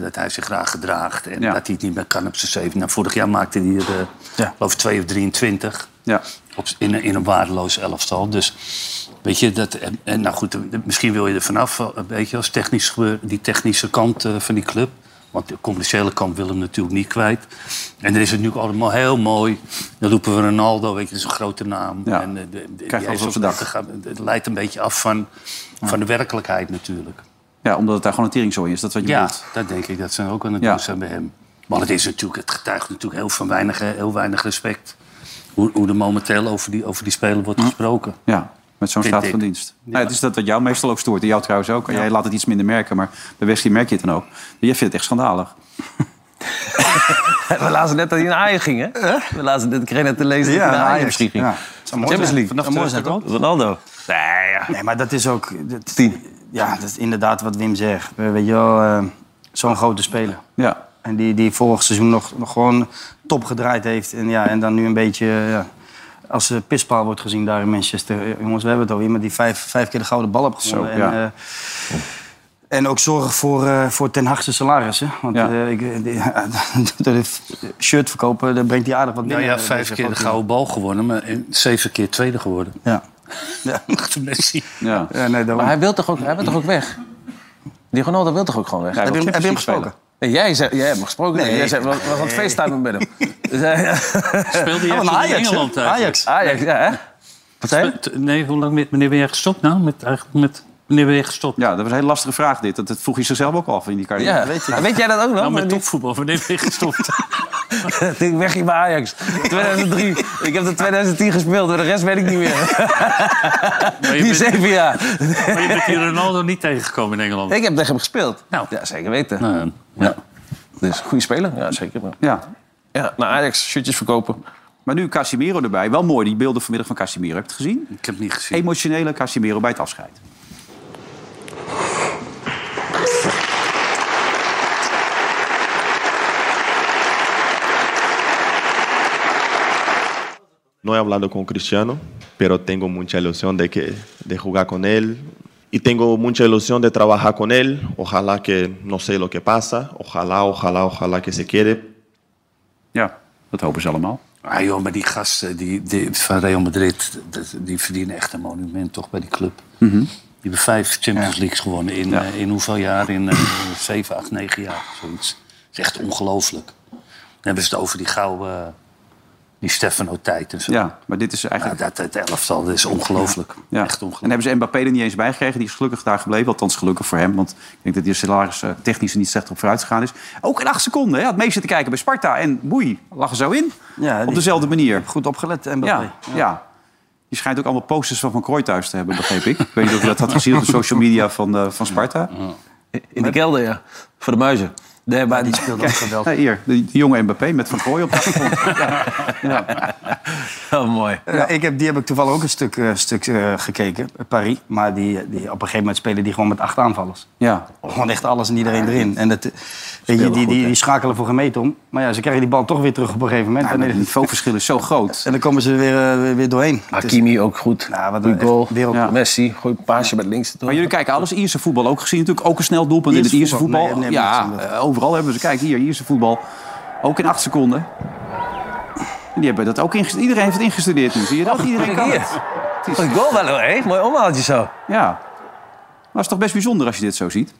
dat hij zich graag gedraagt en dat hij het niet meer kan op zijn zeven. Nou, vorig jaar maakte hij er, eh, geloof ik, 2 of 23 op, in, een- in een waardeloos elftal. Dus weet je, dat, en, en nou goed, de- misschien wil je er vanaf eh, een beetje als technisch gebeur- die technische kant eh, van die club. Want de commerciële kant wil hem natuurlijk niet kwijt. En er is het nu ook allemaal heel mooi. Dan roepen we Ronaldo, weet je, dat is een grote naam.
Ja.
En, eh, de, de,
alles
die heeft
op zijn
ook-
dak.
te gaan- Het leidt een beetje af van, van de werkelijkheid natuurlijk.
Ja, omdat het daar gewoon een teringzooi is. Dat is wat je
Ja,
bedoelt.
dat denk ik. Dat ze ook aan het
Ja.
doen zijn bij hem. Maar het, is natuurlijk, het getuigt natuurlijk heel, van weinig, eh, heel weinig respect. Hoe, hoe er momenteel over die, over die speler wordt gesproken.
Ja, met zo'n
Vind
staat
ik.
van dienst. Nou, het is dat wat jou meestal ook stoort. En jou trouwens ook. En Jij laat het iets minder merken, maar bij Wesley merk je het dan ook. Maar jij vindt het echt schandalig.
We lazen net dat hij naar Ajax ging, hè? We lazen net, ik kreeg net te lezen dat hij naar Ajax misschien ging. Champions League.
Ronaldo. Nee, maar dat is ook... Dat, Ja, dat is inderdaad wat Wim zegt. We- Weet je wel, eh, zo'n grote speler.
Ja.
En die, die vorig seizoen nog, nog gewoon top gedraaid heeft. En, ja, en dan nu een beetje eh, ja, als eh, pispaal wordt gezien daar in Manchester. Ja, Jongens, we hebben het al. Iemand die vijf, vijf keer de gouden bal heeft gewonnen.
Zo, ja.
en, eh, en ook zorg voor, eh, voor Ten Hagse salaris. Hè? Want eh, ik, die, (laughs) door de f- shirt verkopen, dan brengt hij aardig wat
Nou
binnen.
ja,
eh,
vijf
deze
keer de
grote-
gouden bal gewonnen, maar in- zeven keer tweede (laughs) geworden.
Ja.
Ja, Messi.
Ja.
nee, daarom.
Maar hij wil toch ook, hij wil toch ook weg? Die Ronaldo wil toch ook gewoon weg?
Heb je hem- heb je hem gesproken?
Nee, jij, zei, jij hebt hem gesproken.
Nee.
Nee. Jij zei, we we gaan het facetimen met hem.
(laughs)
Dus Speelde
jij Oh, een toen in Ajax, hè? Engeland eigenlijk?
Ajax. (laughs) Ajax, ja, hè?
Spe- Nee, hoe lang met, meneer ben jij gestopt nou? Met, eigenlijk met, meneer ben jij gestopt?
Ja, dat was een hele lastige vraag dit. Dat, dat vroeg je zichzelf ook af in die carrière.
Ja. Weet, jij dat ook nog?
Nou, met topvoetbal, wanneer (laughs) ben je gestopt?
(laughs) Ik denk, weg hier bij Ajax. 2003. ik heb er 2010 gespeeld, maar de rest weet ik niet meer.
Maar je
(laughs) Die
bent-
zeven jaar.
Maar je bent die Ronaldo niet tegengekomen in Engeland.
Ik heb tegen hem gespeeld. Ja, zeker weten. ja. Dus goede speler, Nou. ja, zeker.
Ja.
ja, naar Ajax shirtjes verkopen.
Maar nu Casimiro erbij. Wel mooi, die beelden vanmiddag van Casimiro. Heb je het gezien?
Ik heb het niet gezien.
Emotionele Casimiro bij het afscheid.
No he hablado con Cristiano, pero tengo mucha ilusión de, que, de jugar con él y tengo mucha ilusión de trabajar con él. Ojalá que no sé lo que pasa, ojalá, ojalá, ojalá que se quede.
Ja, dat hopen ze allemaal.
Ah joh, maar die gasten die, die, van Real Madrid, dat- die verdienen echt een monument toch bij die club.
Mhm.
Die hebben vijf Champions Leagues gewonnen in, eh, in hoeveel jaar? In eh, zeven, acht, negen jaar. Zoiets. Dat is echt ongelooflijk. Dan hebben ze het over die gouden, eh, die Stefano-tijd en zo.
Ja, maar dit is eigenlijk...
dat, het elftal dat is ongelooflijk.
Ja. En hebben ze Mbappé er niet eens bij gekregen. Die is gelukkig daar gebleven. Althans, gelukkig voor hem. Want ik denk dat die salaris eh, technisch er niet slecht op vooruit gegaan is. Ook in acht seconden. Hè, had mee zitten kijken bij Sparta. En boei, lag er zo in. op dezelfde manier.
Goed opgelet, Mbappé.
Ja, ja. Die schijnt ook allemaal posters van Van Krooi thuis te hebben, begreep ik. Ik weet niet of je dat had gezien op de social media van, eh, van Sparta.
In de kelder, ja. Voor de muizen. Nee, maar die speelt
ook geweldig. hier, de, de jonge Mbappé met Van Krooi op de achtergrond. ja.
(laughs) Oh, mooi.
Ja, Eh, ik heb, die heb ik toevallig ook een stuk, eh, stuk eh, gekeken, eh, Paris. Maar die, die, op een gegeven moment spelen die gewoon met acht aanvallers.
Ja.
Gewoon echt alles en iedereen erin. En dat, eh, weet je, die,
goed,
die,
hè?
die schakelen voor gemeten om. Maar ja, ze krijgen die bal toch weer terug op een gegeven moment.
Ja, maar
en,
het niveauverschil is zo groot.
en dan komen ze weer, eh, weer- weer doorheen.
Hakimi ook goed.
Nou, wat een
Goeie
echt
goal.
wereld-
Ja. Messi, goeie paasje met links.
Maar jullie kijken alles Ierse voetbal ook gezien natuurlijk. Ook een snel doelpunt in het
Ierse
Ierse
voetbal?
voetbal.
Nee, nee,
ja,
nee,
eh, overal hebben we ze. Kijk hier, Ierse voetbal. Ook in acht seconden. En die hebben dat ook ingestudeerd. Iedereen heeft het ingestudeerd nu. Zie je dat?
Oh,
Iedereen kan het. Het
Een goal wel hoor, hè? Mooi omhaaltje zo.
Ja. Maar het is toch best bijzonder als je dit zo
Oh,
ziet?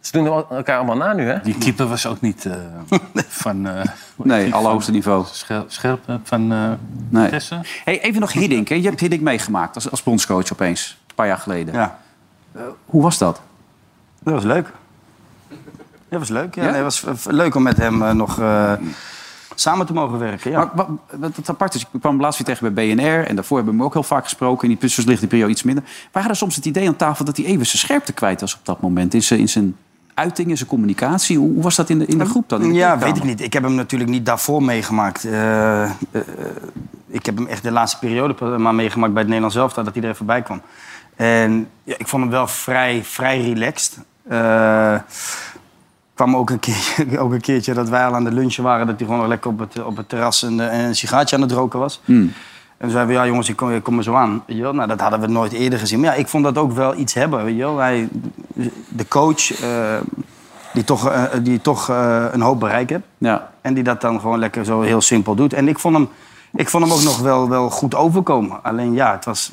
Ze doen elkaar allemaal na nu, hè?
Die keeper was ook niet eh,
(laughs)
van... eh,
Nee, allerhoogste niveau.
Scherp, scherp eh, van eh
Nee.
Vitesse.
Hey, even nog Hiddink. Hè. Je hebt Hiddink meegemaakt als, als bondscoach opeens. Een paar jaar geleden.
Ja.
Eh, hoe was dat?
Dat was leuk. Dat was leuk, ja.
Ja?
Nee, het was eh, leuk om met hem eh, nog eh, samen te mogen werken, ja.
Maar wa- wat het apart is, ik kwam laatst weer tegen bij BNR... en daarvoor hebben we hem ook heel vaak gesproken. In die puzzels ligt die periode iets minder. We hadden soms het idee aan tafel dat hij even zijn scherpte kwijt was op dat moment. In zijn, in zijn uiting, in zijn communicatie. Hoe, hoe was dat in de, in de groep dan? In de
Ja,
kleedkamer?
weet ik niet. Ik heb hem natuurlijk niet daarvoor meegemaakt. Eh, eh, eh, ik heb hem echt de laatste periode pas- maar meegemaakt bij het Nederlands zelf, dat hij er even bij kwam. En ja, ik vond hem wel vrij, vrij relaxed. Eh, kwam ook een, keer, (laughs) ook een keertje dat wij al aan de lunchen waren... dat hij gewoon nog lekker op het, op het terras een, eh, een sigaartje aan het roken was.
Hmm.
En toen zeiden we, ja jongens, ik kom, ik kom er zo aan. Weet je wel? Nou, dat hadden we nooit eerder gezien. Maar ja, ik vond dat ook wel iets hebben. Weet je wel? Hij, de coach, eh, die toch, eh, die toch eh, een hoop bereik heeft.
Ja.
En die dat dan gewoon lekker zo heel simpel doet. En ik vond hem, ik vond hem ook nog wel, wel goed overkomen. Alleen ja, het was,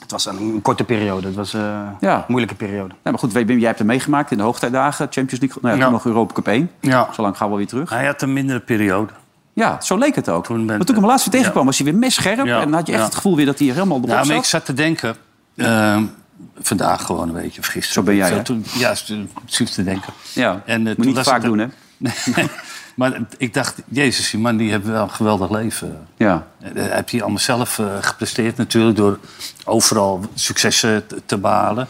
het was een, een korte periode. Het was eh,
Ja.
een moeilijke periode.
Nou, maar goed, Wim, jij hebt hem meegemaakt in de hoogtijdagen. Champions League, nou ja, toen
Ja.
nog Europa Cup 1.
Ja.
Zo lang gaan we weer terug.
Hij had een mindere periode.
Ja, zo leek het ook. Maar toen ik hem laatst weer tegenkwam, was hij weer messcherp.
Ja.
En dan had je echt
Ja.
het gevoel weer dat hij er helemaal op
Nou, maar ik
zat.
zat te denken... eh, vandaag gewoon een beetje, of gisteren.
Zo ben jij, hè?
toen, ja, zit te denken.
Ja,
En, eh,
moet
toen
niet
was
vaak
het-
doen,
(laughs)
hè?
maar ik dacht, jezus, die man die heeft wel een geweldig leven.
Ja.
Eh, eh, heb je allemaal zelf eh, gepresteerd natuurlijk... door overal successen te, te behalen.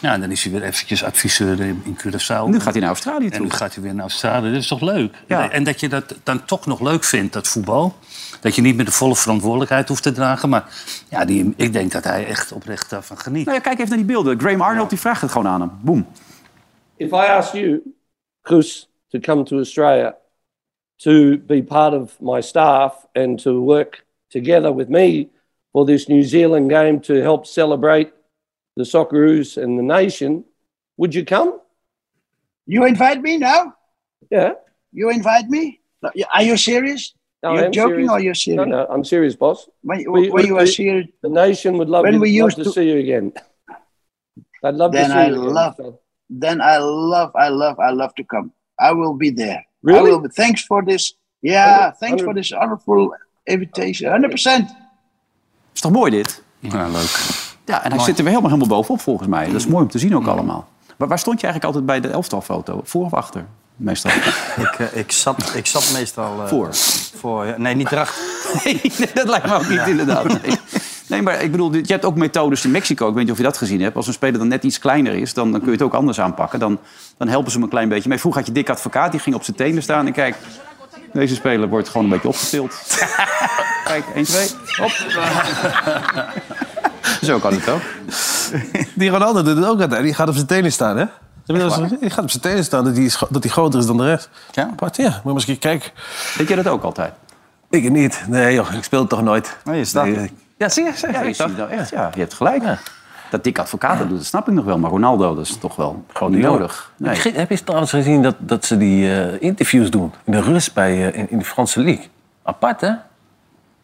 Ja, en dan is hij weer eventjes adviseur in, in Curaçao.
Nu gaat hij naar Australië
En nu
toe.
gaat hij weer naar Australië. Dat is toch leuk?
Ja.
En dat je dat dan toch nog leuk vindt, dat voetbal. Dat je niet meer de volle verantwoordelijkheid hoeft te dragen. Maar ja, die, ik denk dat hij echt oprecht daarvan geniet.
Nou ja, kijk even naar die beelden. Graham Arnold die vraagt het gewoon aan hem. Boom.
if I asked you, Chris, to come to Australia to be part of my staff and to work together with me for this New Zealand game to help celebrate the Socceroos and the nation, would you come?
You invite me now?
Yeah.
You invite me? No, y- Are you serious?
No, I
you're
am
joking
serious.
or you're serious?
No, no, I'm serious, boss.
When,
We-
when you
we-
are serious,
The nation would love,
When
you,
we
love
used
to,
to-
see you again. I'd love
then
to see
I
you again.
love, then I love, I love, I love to come. I will be there. I
Really?
will be, thanks for this. Yeah,
Hundred-
thanks for
hundred-
this honorable invitation. 100%.
Is toch mooi dit?
Ja, leuk.
Ja, en hij
Mooi.
zit er weer helemaal, helemaal bovenop volgens mij. Dat is mooi om te zien ook allemaal. Maar waar stond je eigenlijk altijd bij de elftalfoto? Voor of achter? Meestal.
Ik, eh, ik, zat, ik zat meestal... eh,
Voor.
voor ja. Nee, niet erachter.
(laughs) Nee, nee, dat lijkt me ook niet (laughs) inderdaad. Nee. Nee, maar ik bedoel, dit- je hebt ook methodes in Mexico. Ik weet niet of je dat gezien hebt. Als een speler dan net iets kleiner is, dan, dan kun je het ook anders aanpakken. Dan, dan helpen ze hem een klein beetje mee. Vroeger had je Dick Advocaat, die ging op zijn tenen staan. En kijk, deze speler wordt gewoon een beetje opgetild. (laughs) kijk, 1, 2, (laughs) hop. Zo kan het ook.
Die Ronaldo doet het ook altijd. Die gaat op zijn tenen staan, hè? Heb je dat eens gezien? Die gaat op zijn tenen staan dat hij is gro- dat hij groter is dan de rest. Ja? Apart, ja. Moet je maar eens een keer kijken.
Weet jij dat ook altijd?
Ik niet. Nee, joh. Ik speel het toch nooit.
Nee, je staat
Nee, Ja, zie je? Zeg,
Ja, je, ziet nou echt, ja, je hebt gelijk. Dat Dick Advocaat dat doet, dat snap ik nog wel. Maar Ronaldo, dat is toch wel gewoon niet nodig.
Heb je-
Nee.
Heb je trouwens gezien dat, dat ze die eh, interviews doen in de rust bij, eh, in, in de Franse League? Apart, hè?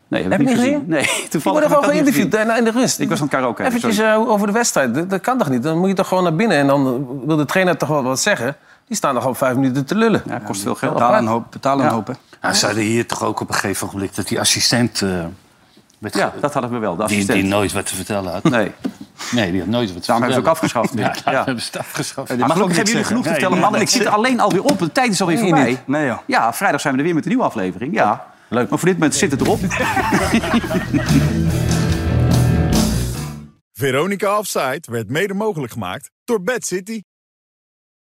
Nee, heb ik
Heb
niet
je niet
gezien.
gezien?
Nee, (laughs)
Die
toevallig
worden
heb ik
gewoon
dat niet
geïnterviewd
gezien.
en- in de rust.
Ik was aan het karaoke.
Eventjes
sorry.
eh, over de wedstrijd. Dat, dat kan toch niet? Dan moet je toch gewoon naar binnen en dan wil de trainer toch wel wat zeggen. Die staan nog al vijf minuten te lullen. Ja,
kost veel
geld.
Betalen een hoop. Betalen een
Ja.
hoop, hè.
Nou, ze hadden hier toch ook op een gegeven moment dat die assistent... eh, werd
Ja,
ge-
dat hadden we wel, de
die,
assistent.
die nooit wat te vertellen had.
Nee.
Nee, die had nooit wat te
Daarom hebben ze
vertellen.
ook afgeschaft.
(laughs) Ja,
Ja.
daarom hebben ze het afgeschaft.
Maar gelukkig hebben jullie genoeg te vertellen, mannen. Ik zit alleen alweer op. De tijd is alweer
Nee,
voorbij.
niet.
Nee, joh.
Ja, vrijdag zijn we er weer met een nieuwe aflevering. Ja. Leuk. Maar voor dit moment zit het erop.
Veronica Offside werd mede mogelijk gemaakt door Bad City.